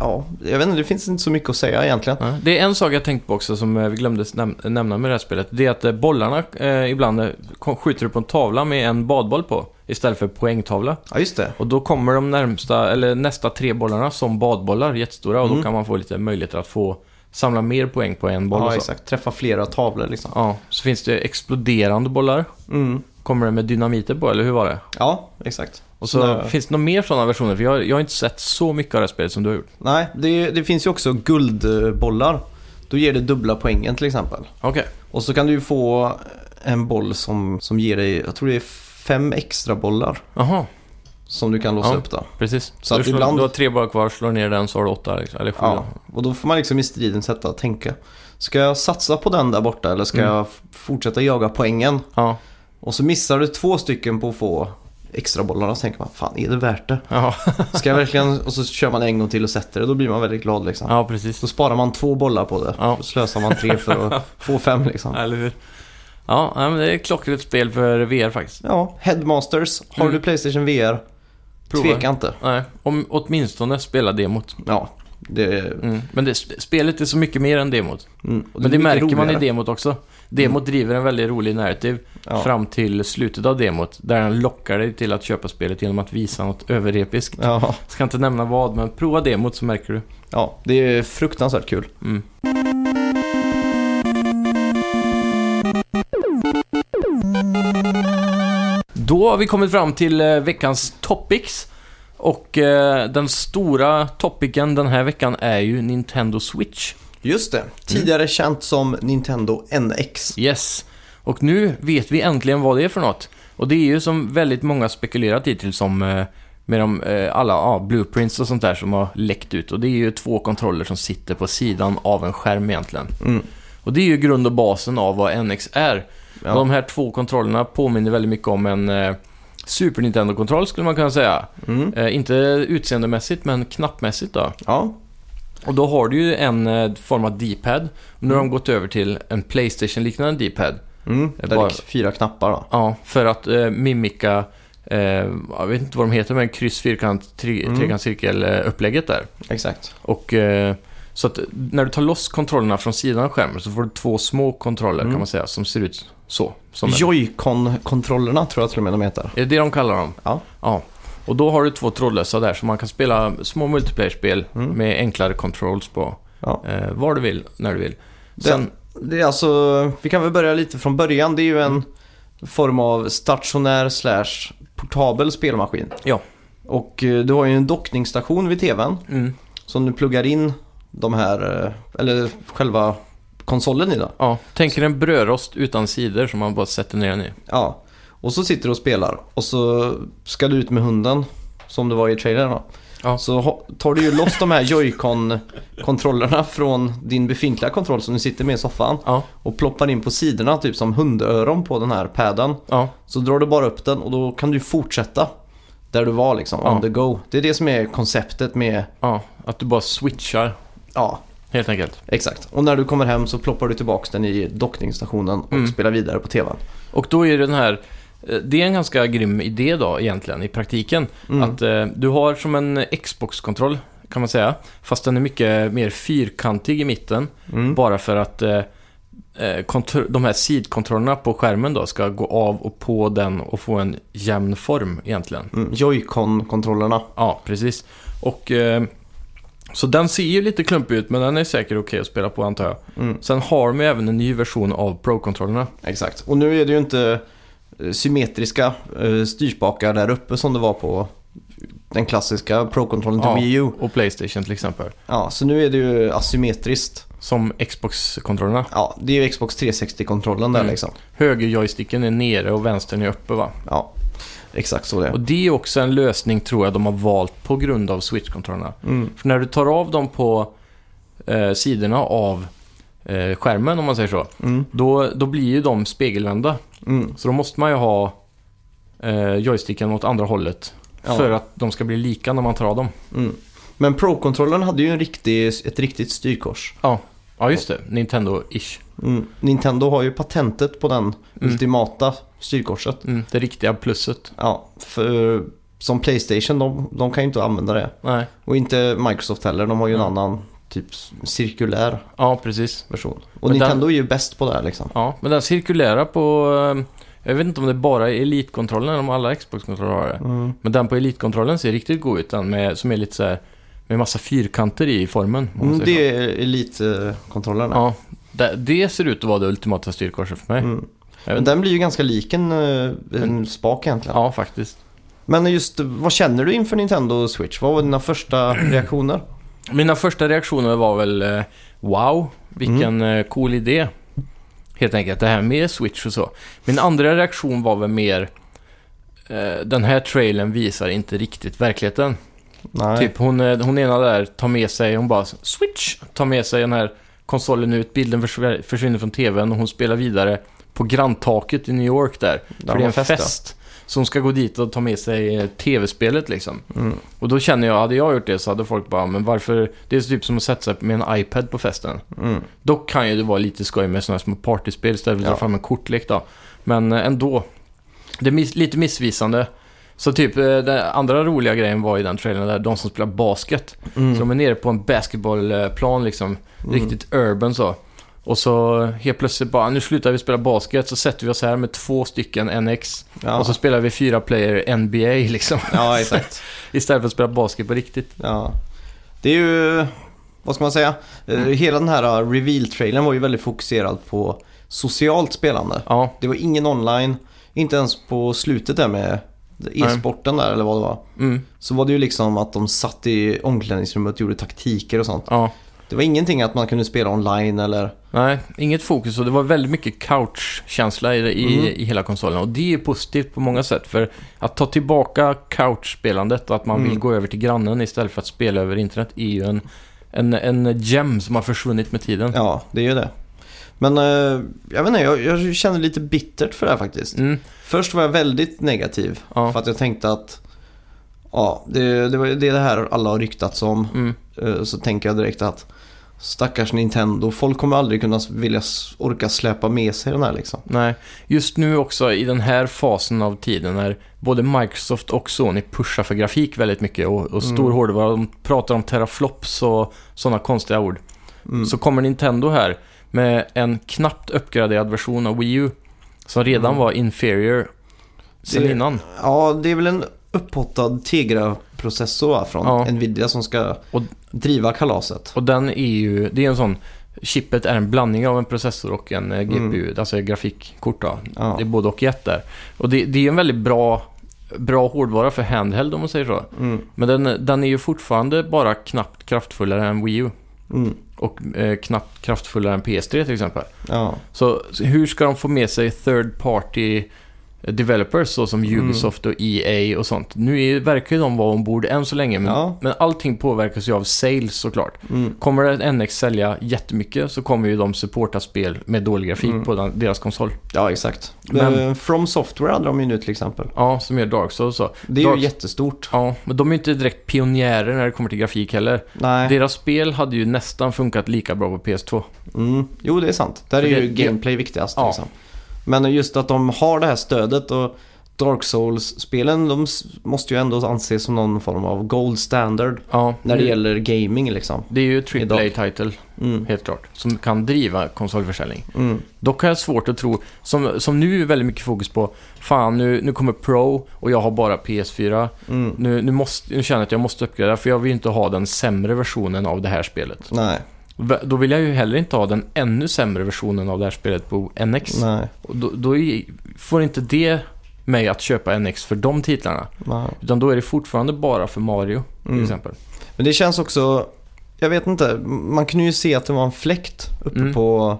Speaker 2: ja, jag vet inte, det finns inte så mycket att säga egentligen.
Speaker 1: Ja. Det är en sak jag tänkt på också som eh, vi glömde näm- nämna med det här spelet. Det är att eh, bollarna eh, ibland eh, kom- skjuter du på en tavla med en badboll på istället för poängtavla.
Speaker 2: Ja, just det.
Speaker 1: Och då kommer de närmsta, eller nästa tre bollarna som badbollar, jättestora. Och då
Speaker 2: Mm.
Speaker 1: kan man få lite möjligheter att få samla mer poäng på en boll.
Speaker 2: Ja,
Speaker 1: och så.
Speaker 2: exakt. Träffa flera tavlor liksom.
Speaker 1: Ja, så finns det exploderande bollar.
Speaker 2: Mm.
Speaker 1: Kommer det med dynamiter på, eller hur var det?
Speaker 2: Ja, exakt.
Speaker 1: Och så
Speaker 2: Sådana-
Speaker 1: finns det några mer sådana versioner? För jag, jag har inte sett så mycket av det här spelet som du har gjort.
Speaker 2: Nej, det, det finns ju också guldbollar. Då ger det dubbla poängen till exempel.
Speaker 1: Okej.
Speaker 2: Och så kan du ju få en boll som, som ger dig, jag tror det är fem extra bollar
Speaker 1: Jaha,
Speaker 2: som du kan låsa
Speaker 1: Ja.
Speaker 2: upp då.
Speaker 1: precis.
Speaker 2: Så
Speaker 1: Så
Speaker 2: att
Speaker 1: du, slår,
Speaker 2: ibland-
Speaker 1: du har tre bollar kvar, slår ner den så har du åtta, liksom, eller sju.
Speaker 2: Ja, och då får man liksom i striden sätta och tänka. Ska jag satsa på den där borta eller ska
Speaker 1: Mm.
Speaker 2: jag f- fortsätta jaga poängen?
Speaker 1: Ja.
Speaker 2: Och så missar du två stycken på att få extra bollarna så tänker man, fan är det värt det?
Speaker 1: Ja. *laughs*
Speaker 2: Ska jag verkligen, och så kör man en gång till och sätter det, då blir man väldigt glad liksom.
Speaker 1: ja, precis.
Speaker 2: Då sparar man två bollar på det,
Speaker 1: Ja.
Speaker 2: så slösar man
Speaker 1: *laughs*
Speaker 2: tre för att få fem liksom.
Speaker 1: Eller hur? Ja, nej, men det är ett klockrent spel för VR faktiskt.
Speaker 2: Ja, Headmasters, har
Speaker 1: Mm.
Speaker 2: du Playstation VR?
Speaker 1: Prova.
Speaker 2: Tveka inte.
Speaker 1: Nej, om, åtminstone spela demot.
Speaker 2: Ja, det, mm.
Speaker 1: Mm. Men det, spelet är så mycket mer än demot.
Speaker 2: och
Speaker 1: Men det
Speaker 2: är mycket
Speaker 1: märker man i
Speaker 2: roligare. Mm.
Speaker 1: demot också. Demot driver en väldigt rolig narrativ
Speaker 2: Ja.
Speaker 1: fram till slutet av demot. Där den lockar dig till att köpa spelet genom att visa något överepiskt.
Speaker 2: Ja,
Speaker 1: Ska inte nämna vad, men prova demot så märker du.
Speaker 2: ja, det är fruktansvärt kul.
Speaker 1: Mm. Då har vi kommit fram till eh, veckans topics. Och eh, den stora topicen den här veckan är ju Nintendo Switch.
Speaker 2: Just det, tidigare känt som Nintendo NX.
Speaker 1: Yes. Och nu vet vi äntligen vad det är för något. Och det är ju som väldigt många spekulerat hittills som eh, med de, eh, alla ja, blueprints och sånt där som har läckt ut. Och det är ju två kontroller som sitter på sidan av en skärm egentligen.
Speaker 2: Mm.
Speaker 1: Och det är ju grund och basen av vad NX är.
Speaker 2: Ja.
Speaker 1: Och de här två kontrollerna påminner väldigt mycket om en eh, Super Nintendo-kontroll skulle man kunna säga.
Speaker 2: Mm.
Speaker 1: Eh, inte utseendemässigt men knappmässigt då.
Speaker 2: Ja,
Speaker 1: Och då har du ju en eh, form av D-pad. Och nu har de gått över till en Playstation-liknande D-pad.
Speaker 2: mm. där
Speaker 1: Bara-
Speaker 2: är fyra knappar då.
Speaker 1: Ja, för att eh, mimika, eh, jag vet inte vad de heter, men kryss, fyrkant, tre,
Speaker 2: Mm.
Speaker 1: cirkel eh, upplägget där.
Speaker 2: Exakt.
Speaker 1: Och, eh, så att när du tar loss kontrollerna från sidan av skärmen så får du två små kontroller
Speaker 2: Mm.
Speaker 1: kan man säga som ser ut så. Som en-
Speaker 2: Joy-Con-kontrollerna tror jag till och med de heter.
Speaker 1: är det det de kallar dem?
Speaker 2: Ja.
Speaker 1: ja. Och då har du två trådlösa där så man kan spela små multiplayer-spel
Speaker 2: Mm.
Speaker 1: med enklare controls på.
Speaker 2: Ja.
Speaker 1: Eh, var du vill, när du vill.
Speaker 2: Den-
Speaker 1: Sen,
Speaker 2: Det är alltså, vi kan väl börja lite från början. Det är ju en
Speaker 1: Mm.
Speaker 2: form av stationär slash portabel spelmaskin.
Speaker 1: Ja.
Speaker 2: Och eh, du har ju en dockningsstation vid tvn
Speaker 1: mm,
Speaker 2: som du pluggar in de här, eh, eller själva konsolen i då.
Speaker 1: ja. Tänk er en brödrost utan sidor som man bara sätter ner den i.
Speaker 2: Ja. Och så sitter du och spelar och så ska du ut med hunden som det var i trailern då.
Speaker 1: Ja.
Speaker 2: Så ho- tar du ju loss de här Joy-Con-kontrollerna från din befintliga kontroll som du sitter med i soffan
Speaker 1: Ja,
Speaker 2: och ploppar in på sidorna typ som hundöron på den här padden.
Speaker 1: ja.
Speaker 2: Så drar du bara upp den och då kan du fortsätta där du var liksom,
Speaker 1: Ja.
Speaker 2: on the go. Det är det som är konceptet med,
Speaker 1: Ja, att du bara switchar
Speaker 2: ja,
Speaker 1: helt enkelt.
Speaker 2: exakt. Och när du kommer hem så ploppar du tillbaka den i dockningsstationen och
Speaker 1: Mm.
Speaker 2: spelar vidare på tvn.
Speaker 1: Och då är den här, eh, det är en ganska grym idé då egentligen i praktiken.
Speaker 2: Mm.
Speaker 1: Att eh, du har som en Xbox-kontroll kan man säga, fast den är mycket mer fyrkantig i mitten.
Speaker 2: Mm.
Speaker 1: Bara för att eh, eh, kontr- de här sidkontrollerna på skärmen då ska gå av och på den och få en jämn form egentligen.
Speaker 2: Mm. Joy-Con-kontrollerna.
Speaker 1: Ja, precis. Och eh, så den ser ju lite klumpig ut, men den är säkert okej att spela på antar jag.
Speaker 2: Mm.
Speaker 1: Sen har de ju även en ny version av Pro-kontrollerna.
Speaker 2: Exakt. Och nu är det ju inte eh, symmetriska eh, styrspakar där uppe som det var på den klassiska Pro-kontrollen till
Speaker 1: Ja.
Speaker 2: Wii U.
Speaker 1: Och Playstation till exempel.
Speaker 2: Ja, så nu är det ju asymmetriskt.
Speaker 1: Som Xbox-kontrollerna.
Speaker 2: Ja, det är ju Xbox 360-kontrollen där
Speaker 1: Mm.
Speaker 2: liksom.
Speaker 1: Höger-joysticken är nere och vänstern är uppe va?
Speaker 2: Ja, exakt så det är.
Speaker 1: Och det är också en lösning tror jag de har valt på grund av Switch-kontrollerna.
Speaker 2: Mm.
Speaker 1: För när du tar av dem på eh, sidorna av eh, skärmen om man säger så.
Speaker 2: Mm.
Speaker 1: Då, då blir ju de spegelvända.
Speaker 2: Mm.
Speaker 1: Så då måste man ju ha eh, joysticken åt andra hållet.
Speaker 2: Ja.
Speaker 1: För att de ska bli lika när man tar av dem.
Speaker 2: Mm. Men Pro-kontrollen hade ju en riktig, ett riktigt styrkors.
Speaker 1: Ja, just det. Nintendo-ish.
Speaker 2: Mm. Nintendo har ju patentet på den ultimata styrkorset.
Speaker 1: Mm, det riktiga plusset.
Speaker 2: Ja, för som Playstation, de, de kan ju inte använda det.
Speaker 1: Nej.
Speaker 2: Och inte Microsoft heller, de har ju en
Speaker 1: Mm.
Speaker 2: annan typ cirkulär
Speaker 1: Ja, precis.
Speaker 2: version. Och
Speaker 1: den-
Speaker 2: Nintendo är ju bäst på det här liksom.
Speaker 1: Ja, men den cirkulära på... eh, Jag vet inte om det är bara är Elite-kontrollen eller om alla Xbox-kontroller har det.
Speaker 2: Mm.
Speaker 1: Men den på Elite-kontrollen ser riktigt god ut. Den med, som är lite så här... Med massa fyrkanter i formen. om man säger så.
Speaker 2: Mm, Det är elitkontrollerna.
Speaker 1: Ja, det, det ser ut att vara det ultimata styrkorset för mig.
Speaker 2: Mm.
Speaker 1: Jag
Speaker 2: Men
Speaker 1: vet- Mm.
Speaker 2: den blir ju ganska lik en, eh, en
Speaker 1: Men-
Speaker 2: spak egentligen.
Speaker 1: Ja, faktiskt.
Speaker 2: Men just, eh, vad känner du inför Nintendo Switch? Vad var dina första reaktioner?
Speaker 1: Typ Mina första reaktioner var väl eh, Wow,
Speaker 2: Mm.
Speaker 1: vilken eh, cool idé. Helt enkelt, det här med Switch och så. Min andra reaktion var väl mer eh, Den här trailern visar inte riktigt verkligheten.
Speaker 2: Nej.
Speaker 1: Typ hon, eh, hon ena där tar med sig, hon bara Switch! Tar med sig den här konsolen ut, bilden försv- försvinner från TVn och hon spelar vidare på granntaket i New York där. för
Speaker 2: Där
Speaker 1: det är
Speaker 2: var
Speaker 1: en
Speaker 2: fest,
Speaker 1: fest.
Speaker 2: ja.
Speaker 1: Så hon ska gå dit och ta med sig eh, TV-spelet liksom.
Speaker 2: Mm.
Speaker 1: Och då känner jag, hade jag gjort det så hade folk bara, men varför? Det är typ som att sätta sig med en iPad på festen.
Speaker 2: Mm.
Speaker 1: Dock kan ju det vara lite skoj med sådana små partyspel istället för att
Speaker 2: Ja.
Speaker 1: dra fram en kortlek då. Men eh, ändå, det är miss, lite missvisande. Så typ, eh, den andra roliga grejen var i den trailern där, de som spelar basket.
Speaker 2: Mm.
Speaker 1: Så de är nere på en basketbollplan liksom, riktigt urban så. Och så helt plötsligt bara, nu slutar vi spela basket, så sätter vi oss här med två stycken NX.
Speaker 2: Ja.
Speaker 1: Och så spelar vi fyra player NBA liksom.
Speaker 2: ja, exakt.
Speaker 1: *laughs* Istället för att spela basket på riktigt.
Speaker 2: Ja. Det är ju, vad ska man säga? Eh, Hela den här reveal-trailern var ju väldigt fokuserad på socialt spelande.
Speaker 1: Ja,
Speaker 2: Det var ingen online, inte ens på slutet där med e-sporten där eller vad det var.
Speaker 1: mm,
Speaker 2: Så var det ju liksom att de satt i omklädningsrummet och gjorde taktiker och sånt.
Speaker 1: ja.
Speaker 2: Det var ingenting att man kunde spela online eller...
Speaker 1: Nej, inget fokus och det var väldigt mycket couch-känsla i, det- i,
Speaker 2: Mm.
Speaker 1: i hela konsolen. Och det är positivt på många sätt. För att ta tillbaka couch-spelandet och att man vill
Speaker 2: Mm.
Speaker 1: gå över till grannen istället för att spela över internet är ju en, en, en gem som har försvunnit med tiden.
Speaker 2: Ja, det är ju det. Men eh, jag vet inte, jag, jag känner lite bittert för det här faktiskt.
Speaker 1: Mm,
Speaker 2: Först var jag väldigt negativ
Speaker 1: ja,
Speaker 2: för att jag tänkte att ja, det, det, var, det är det här alla har ryktats om.
Speaker 1: mm,
Speaker 2: Eh, Så tänker jag direkt att stackars Nintendo, folk kommer aldrig kunna vilja s- orka släpa med sig den här liksom.
Speaker 1: nej. Just nu också i den här fasen av tiden när både Microsoft och Sony pushar för grafik väldigt mycket och, och stor
Speaker 2: Mm.
Speaker 1: hårdvara. De pratar om teraflops och sådana konstiga ord.
Speaker 2: Mm.
Speaker 1: så kommer Nintendo här med en knappt uppgraderad version av Wii U som redan
Speaker 2: Mm.
Speaker 1: var inferior sen
Speaker 2: Det-
Speaker 1: innan.
Speaker 2: Ja, det är väl en upphottad Tegra-processor va, från
Speaker 1: Ja.
Speaker 2: Nvidia som ska
Speaker 1: Och-
Speaker 2: driva kalaset.
Speaker 1: Och den är ju, det är en sån, chippet är en blandning av en processor och en eh,
Speaker 2: Mm.
Speaker 1: GPU, alltså ett grafikkort då.
Speaker 2: Ja.
Speaker 1: Det är både och i ett där. Och det, det är en väldigt bra, bra hårdvara för handheld om man säger så.
Speaker 2: Mm.
Speaker 1: Men den, den är ju fortfarande bara knappt kraftfullare än Wii U.
Speaker 2: Mm.
Speaker 1: Och eh, knappt kraftfullare än PS3 till exempel.
Speaker 2: Ja.
Speaker 1: Så så hur ska de få med sig third party developers så som
Speaker 2: Mm.
Speaker 1: Ubisoft och EA och sånt? Nu är, verkar ju de vara ombord än så länge, men,
Speaker 2: Ja.
Speaker 1: men allting påverkas ju av sales såklart.
Speaker 2: Mm.
Speaker 1: Kommer ett NX sälja jättemycket så kommer ju de supporta spel med dålig grafik
Speaker 2: Mm.
Speaker 1: på den, deras konsol.
Speaker 2: ja, exakt.
Speaker 1: Men-
Speaker 2: Eh, From Software hade de ju nu till exempel.
Speaker 1: Ja, som gör Dark Souls så.
Speaker 2: Det är
Speaker 1: Dark-
Speaker 2: ju jättestort.
Speaker 1: Ja, men de är ju inte direkt pionjärer när det kommer till grafik heller.
Speaker 2: Nej.
Speaker 1: Deras spel hade ju nästan funkat lika bra på PS2.
Speaker 2: Mm. Jo, det är sant. Där är
Speaker 1: För det-
Speaker 2: ju
Speaker 1: det-
Speaker 2: gameplay viktigast.
Speaker 1: Ja.
Speaker 2: Liksom. Men just att de har det här stödet och Dark Souls-spelen de s- måste ju ändå anses som någon form av gold standard
Speaker 1: Ja,
Speaker 2: när det
Speaker 1: nu-
Speaker 2: gäller gaming liksom.
Speaker 1: det är ju
Speaker 2: Idag.
Speaker 1: AAA-titel,
Speaker 2: Mm.
Speaker 1: helt klart, som kan driva konsolförsäljning.
Speaker 2: Mm.
Speaker 1: Dock har jag svårt att tro, som, som nu är väldigt mycket fokus på, fan nu, nu kommer Pro och jag har bara PS4.
Speaker 2: Mm.
Speaker 1: Nu, nu, måste, nu känner jag att jag måste uppgradera för jag vill inte ha den sämre versionen av det här spelet.
Speaker 2: Nej,
Speaker 1: V- Då vill jag ju heller inte ha den ännu sämre versionen av det här spelet på NX.
Speaker 2: nej,
Speaker 1: Och då då är, får inte det mig att köpa NX för de titlarna.
Speaker 2: nej.
Speaker 1: Utan då är det fortfarande bara för Mario till
Speaker 2: Mm.
Speaker 1: exempel.
Speaker 2: Men det känns också, jag vet inte, man kunde ju se att det var en fläkt uppe
Speaker 1: Mm.
Speaker 2: på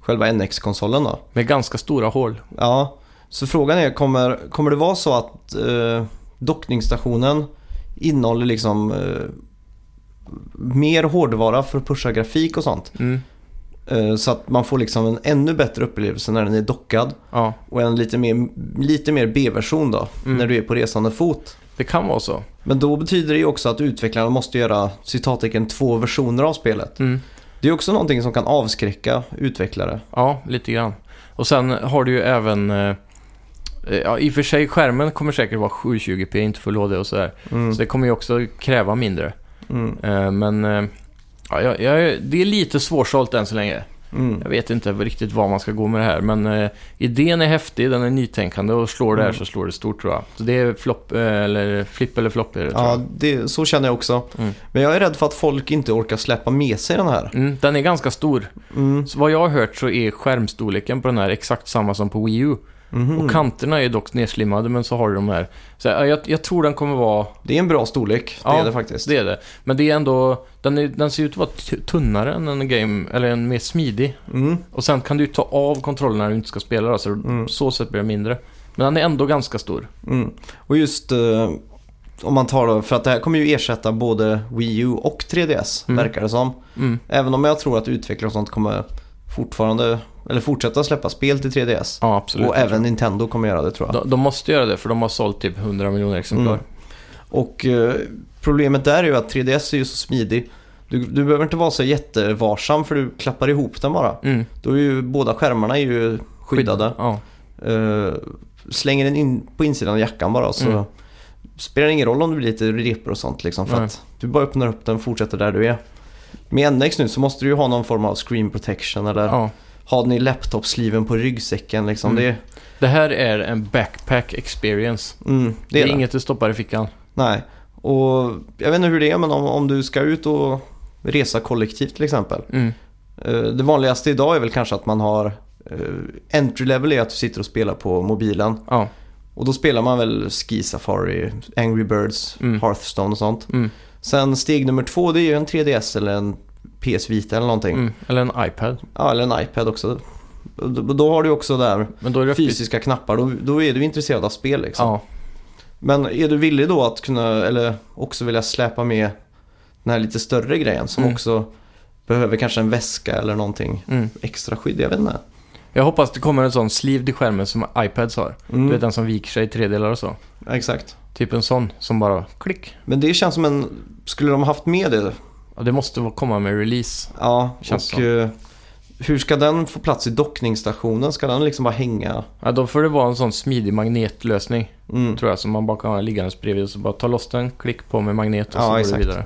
Speaker 2: själva NX-konsolen då.
Speaker 1: Med ganska stora hål.
Speaker 2: Ja, så frågan är, kommer, kommer det vara så att eh, dockningsstationen innehåller liksom eh, mer hårdvara för att pusha grafik och sånt?
Speaker 1: Mm.
Speaker 2: Eh, så att man får liksom en ännu bättre upplevelse när den är dockad
Speaker 1: Ja,
Speaker 2: och en lite mer, lite mer B-version då,
Speaker 1: Mm.
Speaker 2: när du är på resande fot.
Speaker 1: det kan vara så.
Speaker 2: Men då betyder det ju också att utvecklarna måste göra citattecken två versioner av spelet.
Speaker 1: Mm.
Speaker 2: Det är också någonting som kan avskräcka utvecklare.
Speaker 1: Ja, lite grann. Och sen har du ju även eh, Eh, Ja, i och för sig, skärmen kommer säkert vara 720p, inte full HD och sådär.
Speaker 2: Mm.
Speaker 1: Så det kommer ju också kräva mindre.
Speaker 2: Mm.
Speaker 1: Eh, Men eh, ja, jag, jag, det är lite svårsålt än så länge.
Speaker 2: Mm.
Speaker 1: Jag vet inte riktigt var man ska gå med det här, men eh, idén är häftig, den är nytänkande och slår det här
Speaker 2: Mm.
Speaker 1: så slår det stort tror jag. Så det är flopp, eh, eller flipp eller flopp är det tror
Speaker 2: Ja,
Speaker 1: jag.
Speaker 2: det, så känner jag också.
Speaker 1: Mm.
Speaker 2: Men jag är rädd för att folk inte orkar släppa med sig den här.
Speaker 1: Mm, den är ganska stor.
Speaker 2: Mm.
Speaker 1: Så vad jag har hört så är skärmstorleken på den här exakt samma som på Wii U.
Speaker 2: Mhm.
Speaker 1: Och kanterna är dock nedslimmade, men så har du de här. Så ja, jag, jag tror den kommer vara...
Speaker 2: Det är en bra storlek, det
Speaker 1: Ja,
Speaker 2: är det faktiskt.
Speaker 1: Det är det. Men det är ändå... Den, är, den ser ut att vara t- tunnare än en game, eller en mer smidig.
Speaker 2: Mm.
Speaker 1: Och sen kan du ju ta av kontrollen när du inte ska spela då, så
Speaker 2: Mm.
Speaker 1: så sätt blir den mindre. Men den är ändå ganska stor.
Speaker 2: Mm. Och just eh, om man tar då, för att det här kommer ju ersätta både Wii U och 3DS,
Speaker 1: Mm.
Speaker 2: verkar det som.
Speaker 1: Mm.
Speaker 2: Även om jag tror att utvecklare och sånt kommer fortfarande, eller fortsätta släppa spel till 3DS.
Speaker 1: Ja, absolut.
Speaker 2: och även Nintendo kommer göra det tror jag.
Speaker 1: De, de måste göra det, för de har sålt typ 100 miljoner exemplar.
Speaker 2: Mm. Och eh, problemet där är ju att 3DS är ju så smidig. Du, du behöver inte vara så jättevarsam för du klappar ihop den bara.
Speaker 1: Mm.
Speaker 2: Då är ju båda skärmarna är ju skyddade.
Speaker 1: Ja.
Speaker 2: Eh, slänger den in på insidan av jackan bara så
Speaker 1: Mm.
Speaker 2: spelar det ingen roll om det blir lite repor och sånt liksom. För
Speaker 1: Nej.
Speaker 2: att du bara öppnar upp den och fortsätter där du är. Med NX nu så måste du ju ha någon form av screen protection eller
Speaker 1: ja.
Speaker 2: ha den i laptopsliven på ryggsäcken liksom.
Speaker 1: Mm.
Speaker 2: Det, är-
Speaker 1: Det här är en backpack experience.
Speaker 2: mm,
Speaker 1: Det är,
Speaker 2: det.
Speaker 1: inget du stoppar i fickan.
Speaker 2: Nej, och jag vet inte hur det är men om, om du ska ut och resa kollektivt till exempel.
Speaker 1: Mm.
Speaker 2: Eh, Det vanligaste idag är väl kanske att man har eh, entry level är att du sitter och spelar på mobilen.
Speaker 1: Ja.
Speaker 2: Och då spelar man väl Ski Safari, Angry Birds,
Speaker 1: Mm.
Speaker 2: Hearthstone och sånt.
Speaker 1: Mm.
Speaker 2: Sen steg nummer två det är ju en 3DS eller en PS Vita eller någonting.
Speaker 1: Mm. Eller en iPad.
Speaker 2: Ja, eller en iPad också. Och Då, då har du också där
Speaker 1: Men då är det
Speaker 2: fysiska knappar, då, då är du intresserad av spel liksom.
Speaker 1: Ja.
Speaker 2: Men är du villig då att kunna, eller också vilja släpa med den här lite större grejen som
Speaker 1: Mm.
Speaker 2: också behöver kanske en väska eller någonting
Speaker 1: Mm.
Speaker 2: extra skydd, jag vet inte.
Speaker 1: Jag hoppas det kommer en sån sleeved i skärmen som iPads har.
Speaker 2: Mm.
Speaker 1: Du vet den som viker sig i tredelar och så.
Speaker 2: Exakt.
Speaker 1: Typ en sån som bara klick.
Speaker 2: Men det känns som en, skulle de haft med det?
Speaker 1: Ja, det måste vara- komma med release.
Speaker 2: Ja,
Speaker 1: Känns
Speaker 2: och
Speaker 1: så.
Speaker 2: eh, hur ska den få plats i dockningsstationen? Ska den liksom bara hänga?
Speaker 1: Ja, då får det vara en sån smidig magnetlösning.
Speaker 2: Mm.
Speaker 1: Tror jag som man bara kan ha liggandes bredvid och så bara ta loss den, klick på med magnet och
Speaker 2: Ja,
Speaker 1: så går
Speaker 2: exakt.
Speaker 1: du vidare.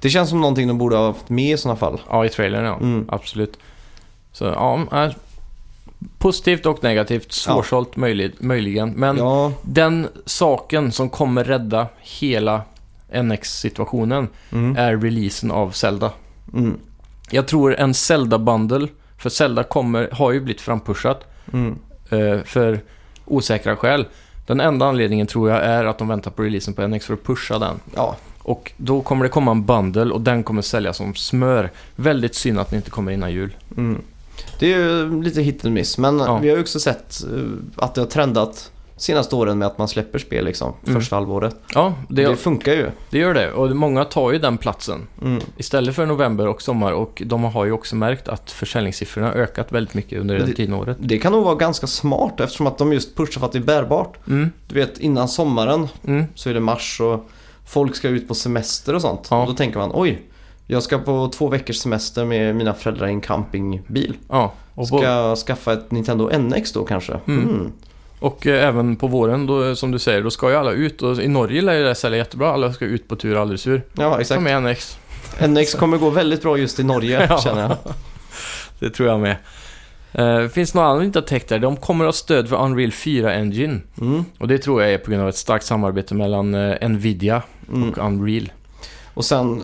Speaker 2: Det känns som någonting de borde ha haft med i sådana fall.
Speaker 1: Ja, i trailern ja.
Speaker 2: Mm.
Speaker 1: Absolut. Så ja, äh, positivt och negativt. Svårsålt möjligt, möjligen. Men
Speaker 2: ja,
Speaker 1: den saken som kommer rädda hela NX-situationen
Speaker 2: mm.
Speaker 1: är releasen av Zelda.
Speaker 2: Mm.
Speaker 1: Jag tror en Zelda-bundle, för Zelda kommer, har ju blivit frampushat
Speaker 2: Mm.
Speaker 1: eh, för osäkra skäl. Den enda anledningen tror jag är att de väntar på releasen på NX för att pusha den.
Speaker 2: ja.
Speaker 1: Och då kommer det komma en bundle och den kommer säljas som smör. Väldigt synd att den inte kommer innan jul.
Speaker 2: Mm. Det är ju lite hit and miss. Men
Speaker 1: Ja.
Speaker 2: vi har ju också sett eh, att det har trendat senaste åren med att man släpper spel liksom
Speaker 1: Mm.
Speaker 2: första halvåret.
Speaker 1: Ja,
Speaker 2: Det,
Speaker 1: det,
Speaker 2: funkar ju.
Speaker 1: det gör det. Och många tar ju den platsen
Speaker 2: Mm.
Speaker 1: istället för november och sommar. Och de har ju också märkt att försäljningssiffrorna har ökat väldigt mycket under
Speaker 2: Men
Speaker 1: den
Speaker 2: det-
Speaker 1: tiden året.
Speaker 2: Det kan nog vara ganska smart eftersom att de just pushar för att det är bärbart.
Speaker 1: Mm,
Speaker 2: Du vet innan sommaren
Speaker 1: mm,
Speaker 2: så är det mars och folk ska ut på semester och sånt.
Speaker 1: Ja.
Speaker 2: Och då tänker man oj, jag ska på två veckors semester med mina föräldrar i en campingbil.
Speaker 1: ja. Och,
Speaker 2: Ska
Speaker 1: på,
Speaker 2: jag skaffa ett Nintendo NX då kanske?
Speaker 1: Mm.
Speaker 2: Mm.
Speaker 1: och eh, även på våren, då, eh, som du säger, då ska ju alla ut. Och i Norge lär ju det sälja jättebra. Alla ska ut på tur och aldrig sur.
Speaker 2: Ja,
Speaker 1: Som
Speaker 2: exakt.
Speaker 1: är NX.
Speaker 2: NX kommer gå väldigt bra just i Norge
Speaker 1: *laughs* Ja.
Speaker 2: känner jag.
Speaker 1: Det tror jag med. Eh, finns något annat vi inte har täckt där? De kommer ha stöd för Unreal 4 Engine.
Speaker 2: Mm.
Speaker 1: Och det tror jag är på grund av ett starkt samarbete mellan eh, Nvidia
Speaker 2: Mm.
Speaker 1: och Unreal.
Speaker 2: Och sen eh,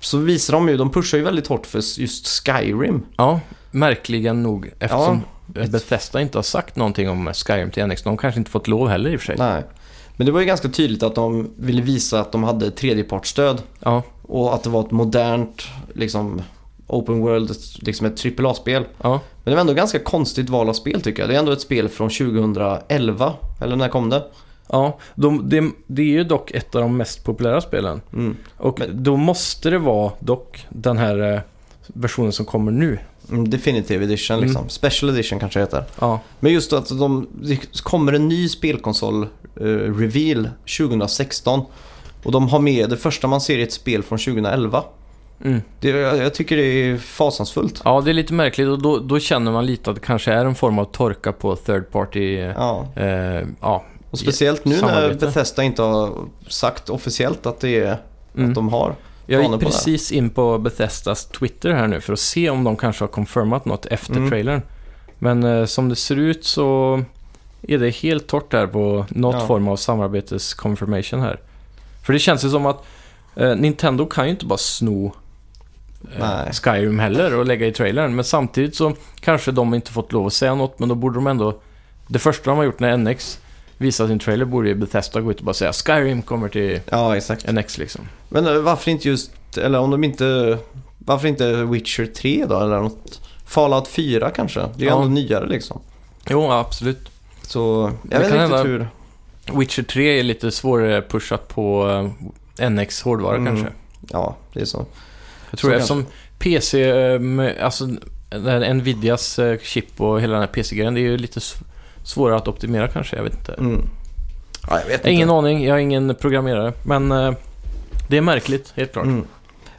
Speaker 2: så visar de ju, de pushar ju väldigt hårt för just Skyrim.
Speaker 1: Ja, märkligen nog eftersom Bethesda inte har sagt någonting om Skyrim till NX. De kanske inte fått lov heller i och för sig.
Speaker 2: Nej. Men det var ju ganska tydligt att de ville visa att de hade tredjepartsstöd
Speaker 1: Ja,
Speaker 2: och att det var ett modernt liksom open world, liksom ett AAA-spel.
Speaker 1: ja,
Speaker 2: Men det var ändå ett ganska konstigt val av spel tycker jag. Det är ändå ett spel från 2011, eller när kom det?
Speaker 1: ja. De, det, det är ju dock ett av de mest populära spelen.
Speaker 2: Mm.
Speaker 1: Och då måste det vara dock den här eh, versionen som kommer nu.
Speaker 2: Mm, Definitive Edition liksom. Special Edition kanske det heter.
Speaker 1: Ja,
Speaker 2: Men just att de, det kommer en ny eh, spelkonsol-reveal 2016. Och de har med, det första man ser är ett spel från 2011.
Speaker 1: Mm.
Speaker 2: Det, jag, jag tycker det är fasansfullt.
Speaker 1: Ja, det är lite märkligt och då, då känner man lite att det kanske är en form av torka på third party. eh,
Speaker 2: Ja.
Speaker 1: Eh, ja.
Speaker 2: Och speciellt nu när
Speaker 1: Samarbete.
Speaker 2: Bethesda inte har sagt officiellt att det är
Speaker 1: Mm.
Speaker 2: att de har.
Speaker 1: Jag
Speaker 2: planer
Speaker 1: gick
Speaker 2: på det här.
Speaker 1: precis in på Bethesdas Twitter här nu för att se om de kanske har confirmat något efter
Speaker 2: Mm.
Speaker 1: trailern. Men eh, som det ser ut så är det helt torrt där på något
Speaker 2: Ja.
Speaker 1: form av samarbetsconfirmation här. För det känns ju som att eh, Nintendo kan ju inte bara sno eh,
Speaker 2: Nej.
Speaker 1: Skyrim heller och lägga i trailern. Men samtidigt så kanske de inte fått lov att säga något men då borde de ändå... Det första de har gjort när NX visar sin trailer borde ju Bethesda gå ut och bara säga Skyrim kommer till
Speaker 2: Ja, exakt.
Speaker 1: NX liksom.
Speaker 2: Men eh, varför inte just, eller om de inte, varför inte Witcher 3 då eller något? Fallout 4 kanske? Det är ju
Speaker 1: Ja.
Speaker 2: ändå nyare liksom.
Speaker 1: Jo, absolut.
Speaker 2: Så
Speaker 1: Det
Speaker 2: jag vet
Speaker 1: kan
Speaker 2: inte
Speaker 1: hända.
Speaker 2: hur.
Speaker 1: Witcher 3 är lite svårare pushat på eh, NX-hårdvara
Speaker 2: Mm.
Speaker 1: kanske.
Speaker 2: Ja, det är så.
Speaker 1: Jag
Speaker 2: Så
Speaker 1: tror
Speaker 2: kan-
Speaker 1: eftersom PC, eh, med- alltså där Nvidias eh, chip och hela den här PC-grejen, det är ju lite sv- svårare att optimera kanske, jag vet inte.
Speaker 2: Mm. Ja, jag vet
Speaker 1: Jag har ingen
Speaker 2: inte.
Speaker 1: aning, jag är ingen programmerare, men eh, det är märkligt, helt klart.
Speaker 2: Mm.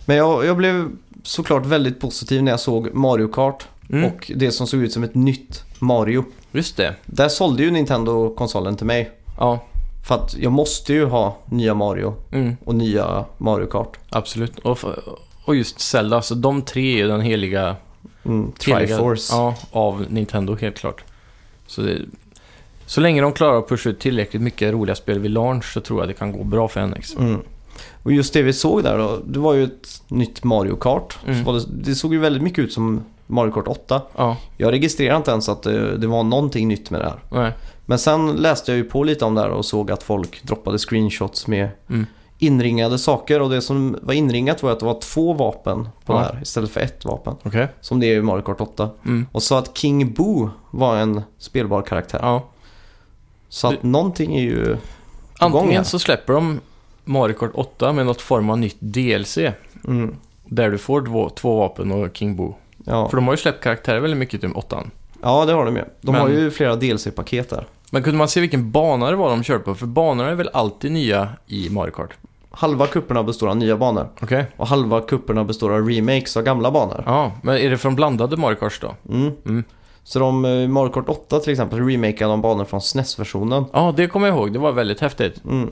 Speaker 2: Men jag, jag blev såklart väldigt positiv när jag såg Mario Kart
Speaker 1: Mm.
Speaker 2: och det som såg ut som ett nytt Mario.
Speaker 1: Just det,
Speaker 2: Där sålde ju Nintendo konsolen till mig.
Speaker 1: ja,
Speaker 2: För att jag måste ju ha nya Mario
Speaker 1: mm,
Speaker 2: och nya Mario Kart.
Speaker 1: absolut. Och, f- och just Zelda, så de tre är ju den heliga
Speaker 2: Mm,
Speaker 1: heliga-
Speaker 2: Triforce.
Speaker 1: Ja, av Nintendo helt klart. Så, det, så länge de klarar att pusha ut tillräckligt mycket roliga spel vid launch så tror jag det kan gå bra för NX.
Speaker 2: Mm. Och just det vi såg där då, det var ju ett nytt Mario Kart.
Speaker 1: Mm.
Speaker 2: Så var det, det såg ju väldigt mycket ut som Mario Kart 8.
Speaker 1: Ja,
Speaker 2: Jag registrerade inte ens att eh, det, det var någonting nytt med det här.
Speaker 1: nej.
Speaker 2: Men sen läste jag ju på lite om det här och såg att folk droppade screenshots med
Speaker 1: Mm.
Speaker 2: inringade saker. Och det som var inringat var att det var två vapen på
Speaker 1: Ja.
Speaker 2: det här istället för ett vapen.
Speaker 1: Okej.
Speaker 2: Som det är i Mario Kart 8.
Speaker 1: Mm.
Speaker 2: Och så att King Boo var en spelbar karaktär.
Speaker 1: Ja.
Speaker 2: Så att någonting är ju på gång här.
Speaker 1: Antingen så släpper de Mario Kart 8 med något form av nytt DLC.
Speaker 2: Mm.
Speaker 1: Där du får två, två vapen och King Boo.
Speaker 2: Ja.
Speaker 1: För de har ju släppt karaktärer väldigt mycket till 8
Speaker 2: ja, det har de ju. De
Speaker 1: Men-
Speaker 2: har ju flera DLC-paket där.
Speaker 1: Men kunde man se vilken bana det var de körde på? För banorna är väl alltid nya i Mario Kart?
Speaker 2: Halva kupperna består av nya banor
Speaker 1: Okej.
Speaker 2: och halva kupperna består av remakes av gamla banor.
Speaker 1: Ja, men är det från blandade Mario Karts då?
Speaker 2: Mm.
Speaker 1: Mm.
Speaker 2: Så de, eh, i Mario Kart 8 till exempel, remakear de banor från SNES-versionen.
Speaker 1: Ja, det kommer jag ihåg. Det var väldigt häftigt.
Speaker 2: Mm.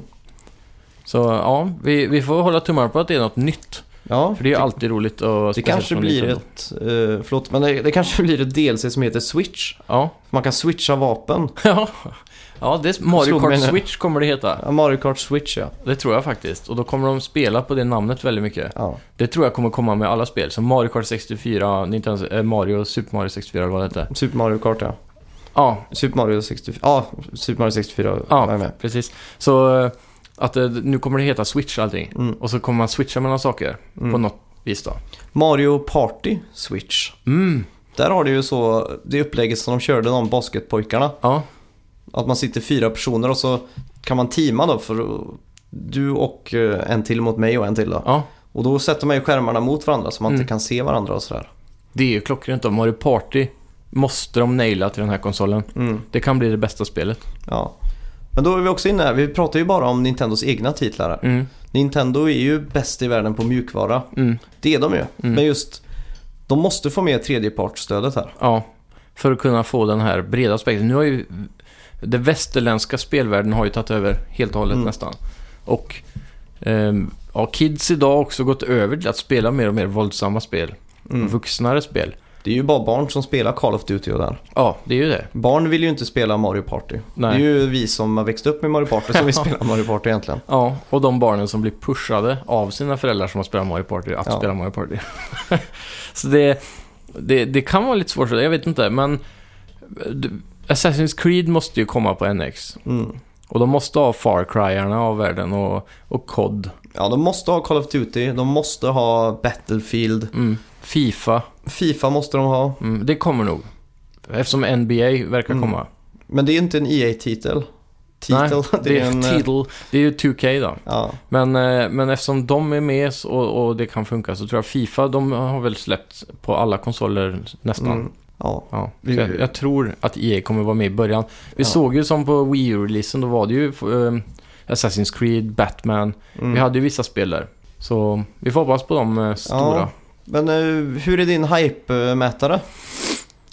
Speaker 1: Så ja, vi, vi får hålla tummarna på att det är något nytt.
Speaker 2: Ja,
Speaker 1: För det är ju alltid roligt att
Speaker 2: det
Speaker 1: speciellt
Speaker 2: kanske
Speaker 1: från
Speaker 2: blir
Speaker 1: Nintendo.
Speaker 2: ett, eh, förlåt, men det, det kanske *laughs* blir ett DLC som heter Switch.
Speaker 1: Ja. *laughs*
Speaker 2: Man kan switcha vapen.
Speaker 1: ja, ja det är Mario
Speaker 2: Slog
Speaker 1: Kart
Speaker 2: mig nu.
Speaker 1: Switch kommer det heta.
Speaker 2: Ja, Mario Kart Switch ja.
Speaker 1: Det tror jag faktiskt. Och då kommer de spela på det namnet väldigt mycket.
Speaker 2: ja.
Speaker 1: Det tror jag kommer komma med alla spel. Som Mario Kart 64, Nintendo, eh, Mario, Super Mario 64 eller vad det hette.
Speaker 2: Super Mario Kart ja.
Speaker 1: Ja,
Speaker 2: Super Mario 64. Ja, Super Mario 64
Speaker 1: Ja.
Speaker 2: jag är med.
Speaker 1: precis. Så eh, att eh, nu kommer det heta Switch allting.
Speaker 2: Mm.
Speaker 1: Och så kommer man switcha mellan saker på
Speaker 2: Mm.
Speaker 1: något vis då.
Speaker 2: Mario Party Switch.
Speaker 1: Mm,
Speaker 2: Där har du ju så det upplägget som de körde de basketpojkarna.
Speaker 1: ja.
Speaker 2: Att man sitter fyra personer och så kan man teama då för att- du och eh, en till mot mig och en till då.
Speaker 1: ja.
Speaker 2: Och då sätter man ju skärmarna mot varandra så man
Speaker 1: Mm.
Speaker 2: inte kan se varandra och sådär.
Speaker 1: Det är ju klockrent då. Mario Party måste de naila till den här konsolen.
Speaker 2: Mm.
Speaker 1: Det kan bli det bästa spelet.
Speaker 2: Ja. Men då är vi också inne här, vi pratar ju bara om Nintendos egna titlar här.
Speaker 1: Mm,
Speaker 2: Nintendo är ju bäst i världen på mjukvara.
Speaker 1: mm,
Speaker 2: Det är de ju.
Speaker 1: Mm.
Speaker 2: Men just, de måste få med tredjepartsstödet här.
Speaker 1: ja. För att kunna få den här breda aspekten. Nu har ju den västerländska spelvärlden har ju tagit över helt och hållet
Speaker 2: Mm.
Speaker 1: nästan. Och ehm, ja, kids idag har också gått över till att spela mer och mer våldsamma spel.
Speaker 2: Mm.
Speaker 1: Vuxnare spel.
Speaker 2: Det är ju bara barn som spelar Call of Duty och där.
Speaker 1: Ja, det är ju det.
Speaker 2: Barn vill ju inte spela Mario Party.
Speaker 1: Nej.
Speaker 2: Det är ju vi som har växt upp med Mario
Speaker 1: *laughs*
Speaker 2: Party som vill spela Mario Party egentligen.
Speaker 1: Ja, och de barnen som blir pushade av sina föräldrar som har spelat Mario Party att
Speaker 2: Ja.
Speaker 1: spela Mario Party. *laughs* så det, det, det kan vara lite svårt, jag vet inte, men eh, du- Assassin's Creed måste ju komma på NX.
Speaker 2: Mm.
Speaker 1: Och de måste ha Far Cryarna av världen och, och COD.
Speaker 2: Ja, de måste ha Call of Duty, de måste ha Battlefield,
Speaker 1: Mm. Fifa,
Speaker 2: Fifa måste de ha.
Speaker 1: mm. det kommer nog. Eftersom NBA verkar
Speaker 2: Mm.
Speaker 1: komma.
Speaker 2: Men det är inte en EA-titel. Titel,
Speaker 1: Nej, det är,
Speaker 2: en... eh,
Speaker 1: titel, det är ju 2K då.
Speaker 2: Ja,
Speaker 1: Men, eh, men eftersom de är med så- och, och det kan funka så tror jag Fifa, de har väl släppt på alla konsoler nästan.
Speaker 2: mm, ja.
Speaker 1: Ja, så
Speaker 2: Vi-
Speaker 1: jag, jag tror att EA kommer vara med i början. Vi
Speaker 2: Ja.
Speaker 1: såg ju som på Wii U-releasen, då var det ju eh, Assassin's Creed, Batman.
Speaker 2: Mm.
Speaker 1: Vi hade ju vissa spel där. Så vi får hoppas på de eh, stora.
Speaker 2: Men eh, hur är din hype-mätare?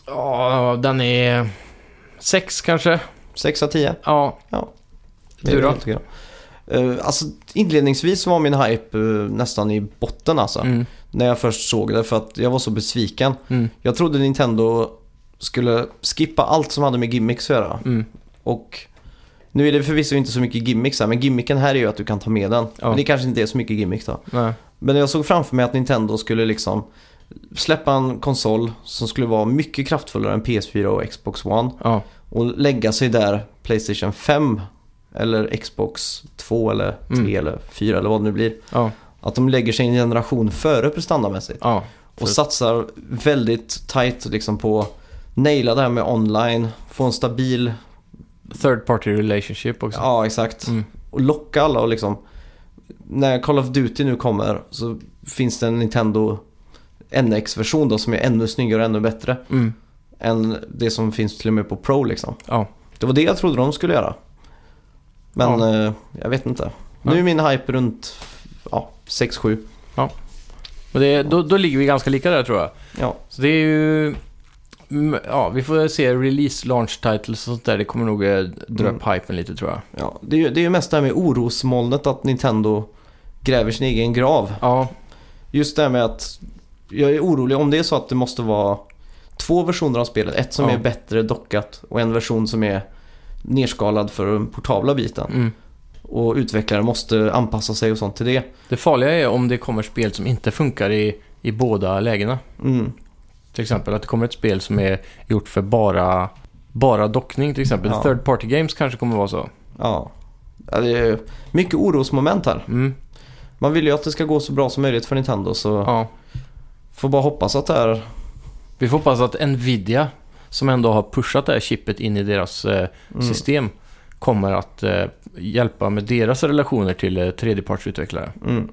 Speaker 1: Ja, den är sex kanske.
Speaker 2: 6 av 10?
Speaker 1: Ja.
Speaker 2: Ja.
Speaker 1: Du då?
Speaker 2: Uh, alltså inledningsvis var min hype eh, nästan i botten alltså.
Speaker 1: Mm.
Speaker 2: När jag först såg det för att jag var så besviken.
Speaker 1: Mm.
Speaker 2: Jag trodde Nintendo skulle skippa allt som hade med gimmicks att göra.
Speaker 1: Mm.
Speaker 2: Och nu är det förvisso inte så mycket gimmicks här, men gimmicken här är ju att du kan ta med den.
Speaker 1: Ja.
Speaker 2: Men det kanske inte är så mycket gimmicks då.
Speaker 1: Nej.
Speaker 2: Men jag såg framför mig att Nintendo skulle liksom släppa en konsol som skulle vara mycket kraftfullare än PS4 och Xbox One
Speaker 1: Ja.
Speaker 2: och lägga sig där Playstation 5 eller Xbox 2 eller 3
Speaker 1: Mm.
Speaker 2: eller 4 eller vad det nu blir.
Speaker 1: Ja.
Speaker 2: Att de lägger sig en generation före prestandamässigt
Speaker 1: Ja.
Speaker 2: och satsar väldigt tight liksom på naila det här med online, få en stabil,
Speaker 1: Third party relationship också.
Speaker 2: ja exakt,
Speaker 1: Mm.
Speaker 2: och locka alla och liksom när Call of Duty nu kommer så finns det en Nintendo NX-version då som är ännu snyggare och ännu bättre
Speaker 1: Mm.
Speaker 2: än det som finns till och med på Pro liksom.
Speaker 1: Ja.
Speaker 2: Det var det jag trodde de skulle göra. Men eh, jag vet inte. Nu är min hype runt ja, 6-7.
Speaker 1: Men det, då, då ligger vi ganska lika där tror jag.
Speaker 2: Ja.
Speaker 1: Så det är ju... mm, Ja, vi får se release launch titles och sånt där. Det kommer nog eh, dra upp hypen lite tror jag.
Speaker 2: Ja. Det, är ju, det är ju mest det här med orosmolnet att Nintendo gräver sin egen grav.
Speaker 1: Ja,
Speaker 2: Just det här med att jag är orolig om det är så att det måste vara två versioner av spelet. Ett som
Speaker 1: Ja.
Speaker 2: är bättre dockat och en version som är nerskalad för den portabla biten.
Speaker 1: mm.
Speaker 2: Och utvecklaren måste anpassa sig och sånt till det.
Speaker 1: Det farliga är om det kommer spel som inte funkar i, i båda lägena.
Speaker 2: Mm.
Speaker 1: Till exempel att det kommer ett spel som är gjort för bara, bara dockning till exempel.
Speaker 2: Ja.
Speaker 1: Third party games kanske kommer vara så.
Speaker 2: Ja. Ja, Det är mycket orosmoment här.
Speaker 1: Mm.
Speaker 2: Man vill ju att det ska gå så bra som möjligt för Nintendo så
Speaker 1: Ja.
Speaker 2: får bara hoppas att det är...
Speaker 1: Vi får hoppas att Nvidia, som ändå har pushat det här chippet in i deras eh,
Speaker 2: Mm.
Speaker 1: system, kommer att eh, hjälpa med deras relationer till eh, tredjepartsutvecklare.
Speaker 2: Mm.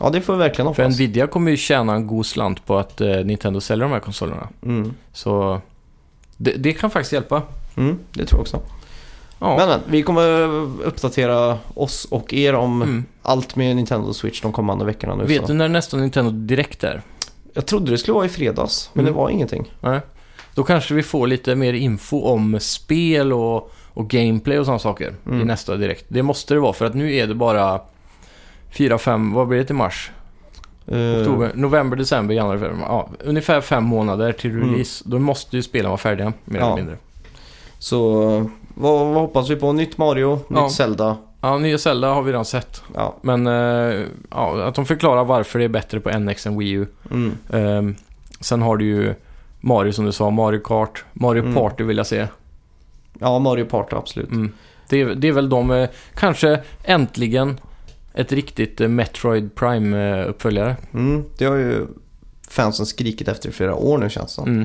Speaker 2: Ja, det får vi verkligen
Speaker 1: För
Speaker 2: hoppas.
Speaker 1: Nvidia kommer ju tjäna en god slant på att eh, Nintendo säljer de här konsolerna.
Speaker 2: Mm.
Speaker 1: Så det, det kan faktiskt hjälpa.
Speaker 2: Mm, det tror jag också.
Speaker 1: Ja.
Speaker 2: Men, men vi kommer uppdatera oss och er om
Speaker 1: Mm.
Speaker 2: allt med Nintendo Switch de kommande veckorna nu.
Speaker 1: Vet
Speaker 2: så.
Speaker 1: du när nästa Nintendo Direkt är?
Speaker 2: Jag trodde det skulle vara i fredags, men
Speaker 1: Mm.
Speaker 2: det var ingenting.
Speaker 1: Nej. Då kanske vi får lite mer info om spel och, och gameplay och sådana saker i
Speaker 2: Mm.
Speaker 1: nästa Direkt. Det måste det vara för att nu är det bara 4-5, vad blir det till mars?
Speaker 2: Eh,
Speaker 1: Oktober, november, december, januari, februari. Ja, ungefär fem månader till
Speaker 2: Mm.
Speaker 1: release. Då måste ju spelen vara färdiga, mer eller
Speaker 2: Ja.
Speaker 1: mindre.
Speaker 2: Så vad, vad hoppas vi på? Nytt Mario,
Speaker 1: Ja.
Speaker 2: nytt Zelda.
Speaker 1: Ja, nya Zelda har vi redan sett.
Speaker 2: Ja.
Speaker 1: Men eh, ja, att de förklarar varför det är bättre på NX än Wii U.
Speaker 2: Mm.
Speaker 1: Ehm, sen har du ju Mario som du sa, Mario Kart, Mario
Speaker 2: Mm.
Speaker 1: Party vill jag se.
Speaker 2: ja, Mario Party absolut.
Speaker 1: Mm. Det, är, det är väl de, eh, kanske äntligen ett riktigt eh, Metroid eh, Prime-uppföljare.
Speaker 2: Mm. Det har ju fansen skrikit efter i flera år nu känns det som.
Speaker 1: Mm.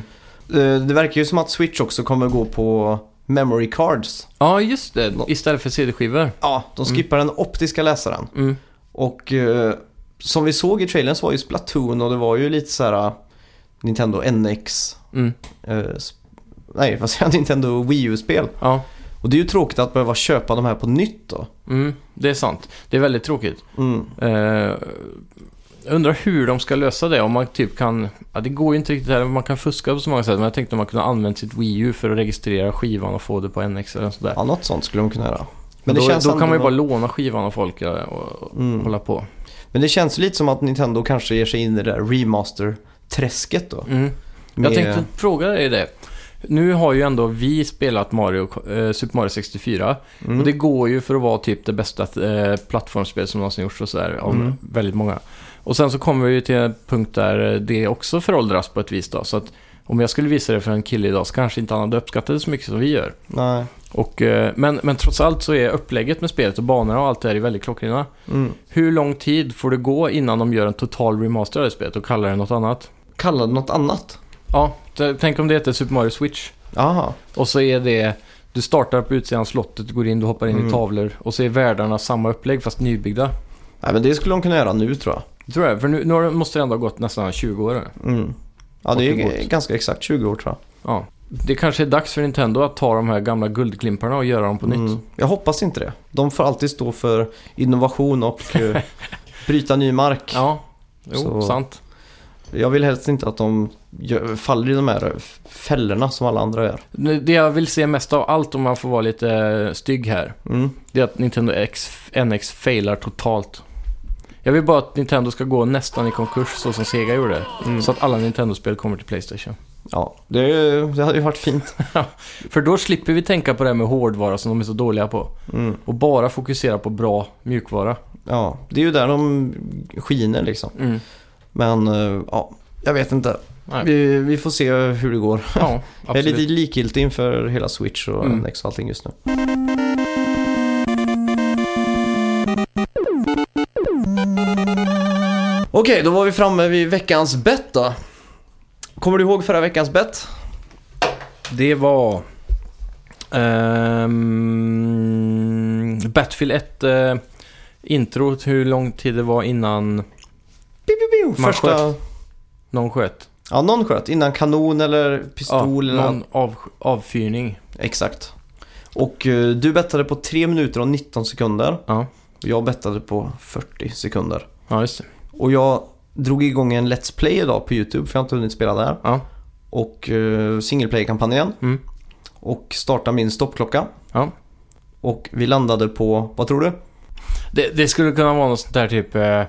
Speaker 2: Eh, Det verkar ju som att Switch också kommer gå på memory cards.
Speaker 1: Ja, just det. Istället för CD-skivor.
Speaker 2: Ja, Mm. de skippar den optiska läsaren.
Speaker 1: Mm.
Speaker 2: Och eh, som vi såg i trailern så var ju Splatoon och det var ju lite så här eh, Nintendo NX.
Speaker 1: Mm.
Speaker 2: Eh, sp- nej, vad säger jag? *laughs* Nintendo Wii U-spel.
Speaker 1: Ja.
Speaker 2: Och det är ju tråkigt att behöva köpa de här på nytt då.
Speaker 1: Mm. Det är sant. Det är väldigt tråkigt.
Speaker 2: Mm.
Speaker 1: Eh, jag undrar hur de ska lösa det. Om man typ kan... Ja, det går ju inte riktigt här. Man kan fuska på så många sätt. Men jag tänkte om man kunde använt sitt Wii U för att registrera skivan och få det på NX eller något sådär.
Speaker 2: Ja, något sånt skulle de kunna göra.
Speaker 1: Men
Speaker 2: det
Speaker 1: då,
Speaker 2: känns
Speaker 1: då
Speaker 2: ändå-
Speaker 1: kan man ju bara låna skivan av folk ja, och, och
Speaker 2: Mm.
Speaker 1: hålla på.
Speaker 2: Men det känns lite som att Nintendo kanske ger sig in i det där remaster-träsket då.
Speaker 1: Mm. Jag
Speaker 2: Med-
Speaker 1: tänkte fråga dig det. Nu har ju ändå vi spelat Mario, eh, Super Mario 64.
Speaker 2: Mm.
Speaker 1: Och det går ju för att vara typ det bästa eh, plattformsspel som någonsin gjorts och sådär. Av
Speaker 2: Mm.
Speaker 1: väldigt många. Och sen så kommer vi ju till en punkt där eh, det också föråldras på ett vis då. Så att om jag skulle visa det för en kille idag så kanske inte han hade uppskattat det så mycket som vi gör.
Speaker 2: Nej.
Speaker 1: Och, eh, men, men trots allt så är upplägget med spelet och banorna och allt det här är väldigt klockrena.
Speaker 2: Mm.
Speaker 1: Hur lång tid får det gå innan de gör en total remaster av det spelet och kallar det något annat?
Speaker 2: Kalla det något annat.
Speaker 1: Ja, t- tänk om det heter Super Mario Switch.
Speaker 2: Jaha.
Speaker 1: Och så är det, du startar på utsidan av slottet, du går in, du hoppar in i
Speaker 2: Mm.
Speaker 1: tavlor och så är världarna samma upplägg fast nybyggda.
Speaker 2: Nej, men det skulle de kunna göra nu tror jag.
Speaker 1: Det tror jag, för nu, nu har det- måste det ändå ha gått nästan 20 år. eller?
Speaker 2: Mm. Ja, det är
Speaker 1: Bortemot.
Speaker 2: g- ganska exakt 20 år tror jag.
Speaker 1: Ja. Det kanske är dags för Nintendo att ta de här gamla guldklimparna och göra dem på nytt. *laughs*
Speaker 2: Mm. Jag hoppas inte det. De får alltid stå för innovation och eh, bryta ny mark.
Speaker 1: Ja, jo,
Speaker 2: Så-
Speaker 1: sant.
Speaker 2: Jag vill helst inte att de gör, faller i de här fällorna som alla andra gör.
Speaker 1: Nu, Det jag vill se mest av allt, om man får vara lite eh, stygg här,
Speaker 2: Mm.
Speaker 1: det är att Nintendo X, NX failar totalt. Jag vill bara att Nintendo ska gå nästan i konkurs, så som Sega gjorde. Så att alla Nintendo-spel kommer till Playstation.
Speaker 2: Ja, det, det hade ju varit fint.
Speaker 1: För då slipper vi tänka på det här med hårdvara som de är så dåliga på.
Speaker 2: Mm.
Speaker 1: Och bara fokusera på bra mjukvara.
Speaker 2: Ja, det är ju där de skiner liksom.
Speaker 1: Mm.
Speaker 2: Men eh, ja, jag vet inte.
Speaker 1: Nej.
Speaker 2: Vi, vi får se hur det går.
Speaker 1: *laughs* Ja, absolut.
Speaker 2: Jag är lite likgiltig inför hela Switch och
Speaker 1: Mm.
Speaker 2: NX och allting just nu. Okej, då var vi framme vid veckans bett då. Kommer du ihåg förra veckans bett?
Speaker 1: Det var... ehm, Battlefield 1 eh, introt, hur lång tid det var innan Man
Speaker 2: Första...
Speaker 1: någon sköt.
Speaker 2: Ja, någon sköt. Innan kanon eller pistol
Speaker 1: ja,
Speaker 2: eller
Speaker 1: någon av, avfyrning.
Speaker 2: Exakt. Och eh, du bettade på 3 minuter och 19 sekunder.
Speaker 1: Ja.
Speaker 2: Och jag bettade på 40 sekunder.
Speaker 1: ja, just det.
Speaker 2: Och jag drog igång en Let's Play idag på YouTube för jag har inte hunnit spela där.
Speaker 1: Ja.
Speaker 2: Och uh, single play-kampanjen.
Speaker 1: Mm.
Speaker 2: Och starta min stoppklocka.
Speaker 1: Ja.
Speaker 2: Och vi landade på, vad tror du?
Speaker 1: Det, det skulle kunna vara något sånt där typ... Eh,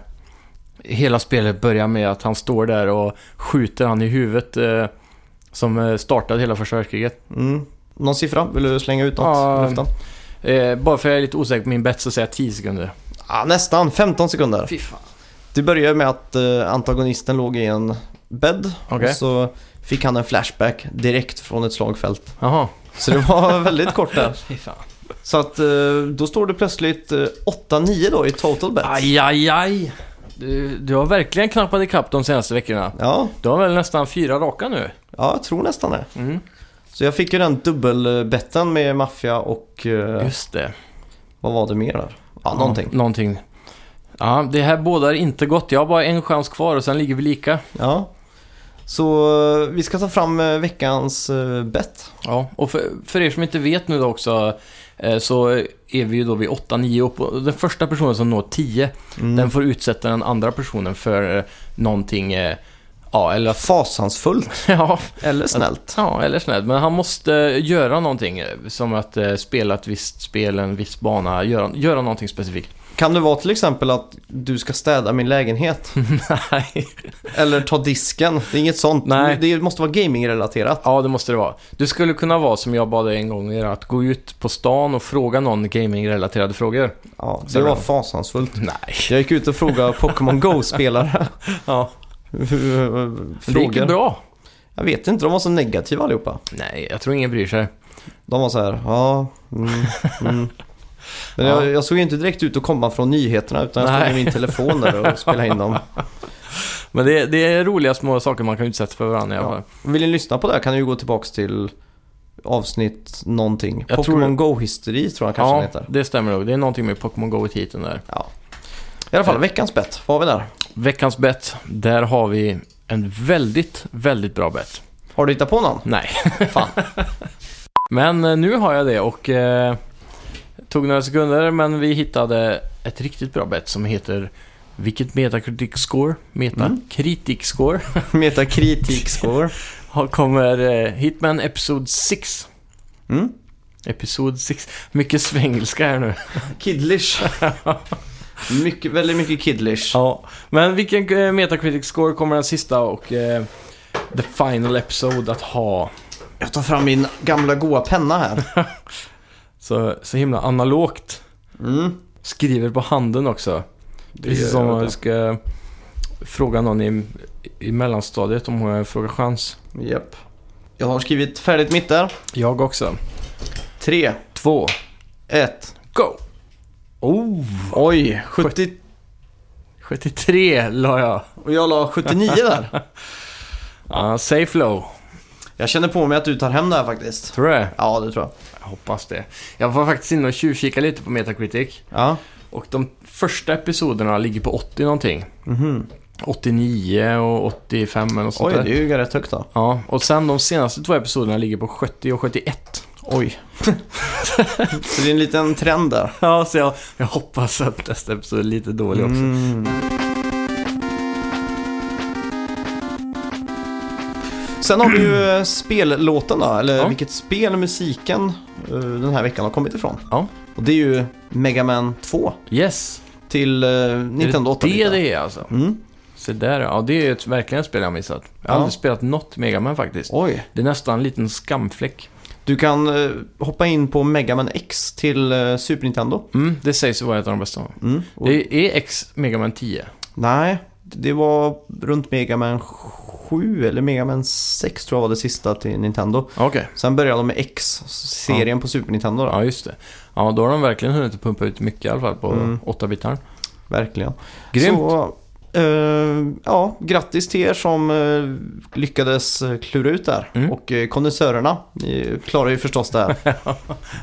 Speaker 1: hela spelet börjar med att han står där och skjuter han i huvudet. Eh, som eh, startade hela första världskriget.
Speaker 2: Mm. Någon siffra? Vill du slänga ut något?
Speaker 1: Ja.
Speaker 2: Luften?
Speaker 1: Eh, bara för att jag är lite osäker på min bet så säger jag 10 sekunder.
Speaker 2: Ah, nästan, 15 sekunder.
Speaker 1: Fy fan.
Speaker 2: Det började med att eh, antagonisten låg i en bädd.
Speaker 1: Okej.
Speaker 2: Och så fick han en flashback direkt från ett slagfält.
Speaker 1: Jaha.
Speaker 2: Så det var *laughs* väldigt kort där.
Speaker 1: Fy fan.
Speaker 2: Så att eh, då står det plötsligt eh, 8-9 då i total bets.
Speaker 1: Aj, aj, aj. Du, du har verkligen knappat ikapp de senaste veckorna.
Speaker 2: Ja,
Speaker 1: Du har väl nästan fyra raka nu?
Speaker 2: ja, jag tror nästan det.
Speaker 1: Mm.
Speaker 2: Så jag fick ju den dubbelbetten med Mafia och eh,
Speaker 1: Just det.
Speaker 2: vad var det mer där? Ja, någonting.
Speaker 1: Ja, någonting. Ja, det här bådar inte gott. Jag har bara en chans kvar och sen ligger vi lika.
Speaker 2: Ja. Så eh, vi ska ta fram eh, veckans eh, bett.
Speaker 1: Ja, och för, för er som inte vet nu då också eh, så är vi ju då vid 8-9 upp och den första personen som når 10
Speaker 2: Mm.
Speaker 1: den får utsätta den andra personen för eh, någonting, eh, ja eller att, *laughs*
Speaker 2: Fasansfullt
Speaker 1: ja,
Speaker 2: eller snällt.
Speaker 1: Ja, eller snällt. Men han måste eh, göra någonting. eh, Som att eh, spela ett visst spel, en viss bana. Göra, göra någonting specifikt. *laughs*
Speaker 2: Kan det vara till exempel att du ska städa
Speaker 1: *laughs*
Speaker 2: min lägenhet?
Speaker 1: Nej.
Speaker 2: Eller ta disken? Det är inget sånt.
Speaker 1: Nej.
Speaker 2: Det måste vara gamingrelaterat.
Speaker 1: Ja, det måste det vara. Du skulle kunna vara som jag bad dig en gång göra. Att gå ut på stan och fråga någon gaming-relaterade frågor. *laughs*
Speaker 2: Ja, det
Speaker 1: Så
Speaker 2: var
Speaker 1: bra.
Speaker 2: fasansfullt.
Speaker 1: Nej.
Speaker 2: Jag gick ut och frågade Pokémon Go-spelare.
Speaker 1: Ja.
Speaker 2: Frågor.
Speaker 1: Det gick ju bra.
Speaker 2: Jag vet inte, de var så negativa allihopa.
Speaker 1: Nej, jag tror ingen bryr sig.
Speaker 2: De var så här, ja, mm, mm.
Speaker 1: Ja.
Speaker 2: Men jag, jag såg ju inte direkt ut att komma från nyheterna utan jag stod
Speaker 1: Nej.
Speaker 2: med min telefon där och spelade
Speaker 1: *laughs*
Speaker 2: in dem.
Speaker 1: Men det, det är roliga små saker man kan utsätta för varandra i alla fall.
Speaker 2: Vill ni lyssna på det här kan ni ju gå tillbaka till avsnitt någonting.
Speaker 1: Jag tror-
Speaker 2: Pokémon Go-hysteri tror jag kanske den
Speaker 1: Ja,
Speaker 2: heter.
Speaker 1: det stämmer nog. Det är någonting med Pokémon Go-titeln där.
Speaker 2: Ja. I alla fall,
Speaker 1: Eh.
Speaker 2: veckans bett. Vad har vi där?
Speaker 1: Veckans bet. Där har vi en väldigt, väldigt bra bet.
Speaker 2: Har du hittat
Speaker 1: *laughs*
Speaker 2: på någon?
Speaker 1: Nej, fan. men eh, nu har jag det och eh, tog några sekunder men vi hittade ett riktigt bra bet som heter vilket Metacritic score? Meta?
Speaker 2: Mm.
Speaker 1: Critic score? *laughs*
Speaker 2: Metakritik-score.
Speaker 1: Har- Kommer eh, Hitman Episod 6.
Speaker 2: Mm.
Speaker 1: Episod 6. Mycket svengelska här nu. *laughs*
Speaker 2: Kidlish. mycket, väldigt mycket kidlish.
Speaker 1: Ja. Men vilken eh, Metacritic score kommer den sista och eh, The Final Episode att ha?
Speaker 2: Jag tar fram min gamla goa penna här.
Speaker 1: Så, så himla analogt.
Speaker 2: Mm.
Speaker 1: Skriver på handen också. Precis som om man ska fråga någon i, i mellanstadiet om hon frågar chans.
Speaker 2: Japp. Jag har skrivit färdigt mitt där.
Speaker 1: Jag också.
Speaker 2: Tre,
Speaker 1: Två,
Speaker 2: ett.
Speaker 1: go! Oh!
Speaker 2: Oj, 70...
Speaker 1: 73 la jag.
Speaker 2: Och jag la 79 där.
Speaker 1: Ja, safe low.
Speaker 2: Jag känner på mig att du tar hem det här faktiskt.
Speaker 1: Tror du det?
Speaker 2: Ja, det tror jag.
Speaker 1: Jag hoppas det. Jag var faktiskt inne och tjuvkikade lite på Metacritic.
Speaker 2: Ja.
Speaker 1: Och de första episoderna ligger på 80 någonting.
Speaker 2: Mhm.
Speaker 1: 89 och 85 eller något sånt
Speaker 2: Oj, det
Speaker 1: där.
Speaker 2: är ju rätt högt då.
Speaker 1: Ja, och sen de senaste två episoderna ligger på 70 och 71.
Speaker 2: Oj. så det är en liten trend där.
Speaker 1: *laughs* Ja, så jag, jag hoppas att nästa episod är lite dålig också.
Speaker 2: Mm. Sen har vi ju eh, spellåten då, eller
Speaker 1: Ja.
Speaker 2: vilket spel musiken eh, den här veckan har kommit ifrån.
Speaker 1: Ja.
Speaker 2: Och det är ju Mega Man 2
Speaker 1: Yes!
Speaker 2: till eh, Nintendo 8
Speaker 1: Det är det det är alltså.
Speaker 2: Mm.
Speaker 1: Så där, ja det är ett, verkligen ett spel jag missat. Jag har
Speaker 2: Ja.
Speaker 1: aldrig spelat något Mega Man faktiskt.
Speaker 2: Oj.
Speaker 1: Det är nästan en liten skamfläck.
Speaker 2: Du kan eh, hoppa in på Mega Man X till eh, Super Nintendo.
Speaker 1: Mm, det sägs ju vara ett av de bästa.
Speaker 2: Mm. Och,
Speaker 1: Det är X Mega Man 10.
Speaker 2: Nej, det var runt Mega Man 7 eller Mega Man 6 tror jag var det sista till Nintendo.
Speaker 1: Okej.
Speaker 2: Sen började de med X-serien på Super Nintendo då.
Speaker 1: Ja, just det. Ja, då har de verkligen hunnit pumpa ut mycket i alla fall på
Speaker 2: Mm.
Speaker 1: 8-bitaren.
Speaker 2: Verkligen.
Speaker 1: Grymt!
Speaker 2: Så, eh, ja, grattis till er som eh, lyckades eh, klura ut där.
Speaker 1: Mm.
Speaker 2: Och eh, kondensörerna ni klarar ju förstås det
Speaker 1: *laughs*
Speaker 2: här.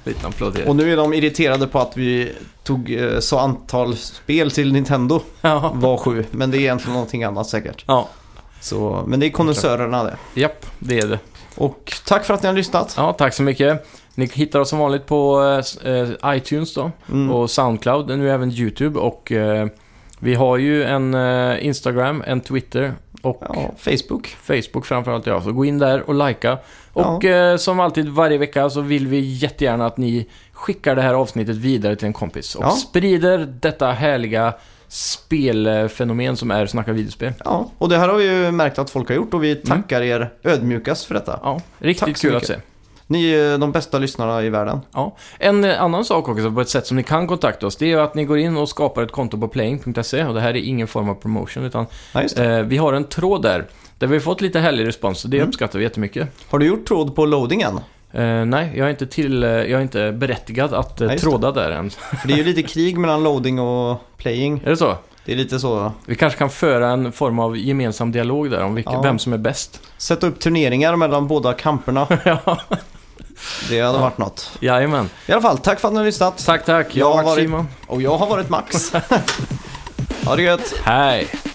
Speaker 1: Liten applåd till er.
Speaker 2: och nu är de irriterade på att vi tog eh, så antal spel till Nintendo
Speaker 1: Ja.
Speaker 2: *laughs* var sju. Men det är egentligen någonting annat säkert.
Speaker 1: ja,
Speaker 2: Så, men det är kondensörerna det.
Speaker 1: japp, det är det.
Speaker 2: Och tack för att ni har lyssnat.
Speaker 1: Ja, tack så mycket. Ni hittar oss som vanligt på eh, s- eh, iTunes då.
Speaker 2: Mm.
Speaker 1: och Soundcloud, nu även YouTube och eh, vi har ju en eh, Instagram, en Twitter och
Speaker 2: Ja, Facebook.
Speaker 1: Facebook framförallt ja. Så gå in där och likea. Och eh, som alltid varje vecka så vill vi jättegärna att ni skickar det här avsnittet vidare till en kompis och
Speaker 2: Ja.
Speaker 1: sprider detta härliga spelfenomen som är Snacka videospel.
Speaker 2: Ja, och det här har vi ju märkt att folk har gjort och vi tackar er ödmjukast för detta.
Speaker 1: Ja, riktigt
Speaker 2: Tack så
Speaker 1: kul
Speaker 2: mycket.
Speaker 1: att se.
Speaker 2: Ni är de bästa lyssnarna i världen.
Speaker 1: Ja. En eh, annan sak också på ett sätt som ni kan kontakta oss, det är ju att ni går in och skapar ett konto på playing.se och det här är ingen form av promotion utan
Speaker 2: Ja, just det.
Speaker 1: Eh, vi har en tråd där, där vi har fått lite härlig respons och det
Speaker 2: Mm.
Speaker 1: uppskattar vi jättemycket.
Speaker 2: Har du gjort tråd på loadingen?
Speaker 1: Eh, nej, jag är inte, till, eh, jag är inte berättigad att eh,
Speaker 2: Nej, just det.
Speaker 1: tråda där än.
Speaker 2: För det är ju lite krig mellan loading och playing.
Speaker 1: Är det så?
Speaker 2: Det är lite så.
Speaker 1: Vi kanske kan föra en form av gemensam dialog där om vilka,
Speaker 2: Ja.
Speaker 1: vem som är bäst. *laughs*
Speaker 2: Sätta upp turneringar mellan båda kamperna.
Speaker 1: ja,
Speaker 2: Det hade varit något.
Speaker 1: jajamän.
Speaker 2: I alla fall, tack för att ni har lyssnat.
Speaker 1: Tack, tack. Jag
Speaker 2: Jag har
Speaker 1: har varit
Speaker 2: varit-
Speaker 1: Simon.
Speaker 2: Och jag har varit Max. *laughs* ha det gött.
Speaker 1: Hej.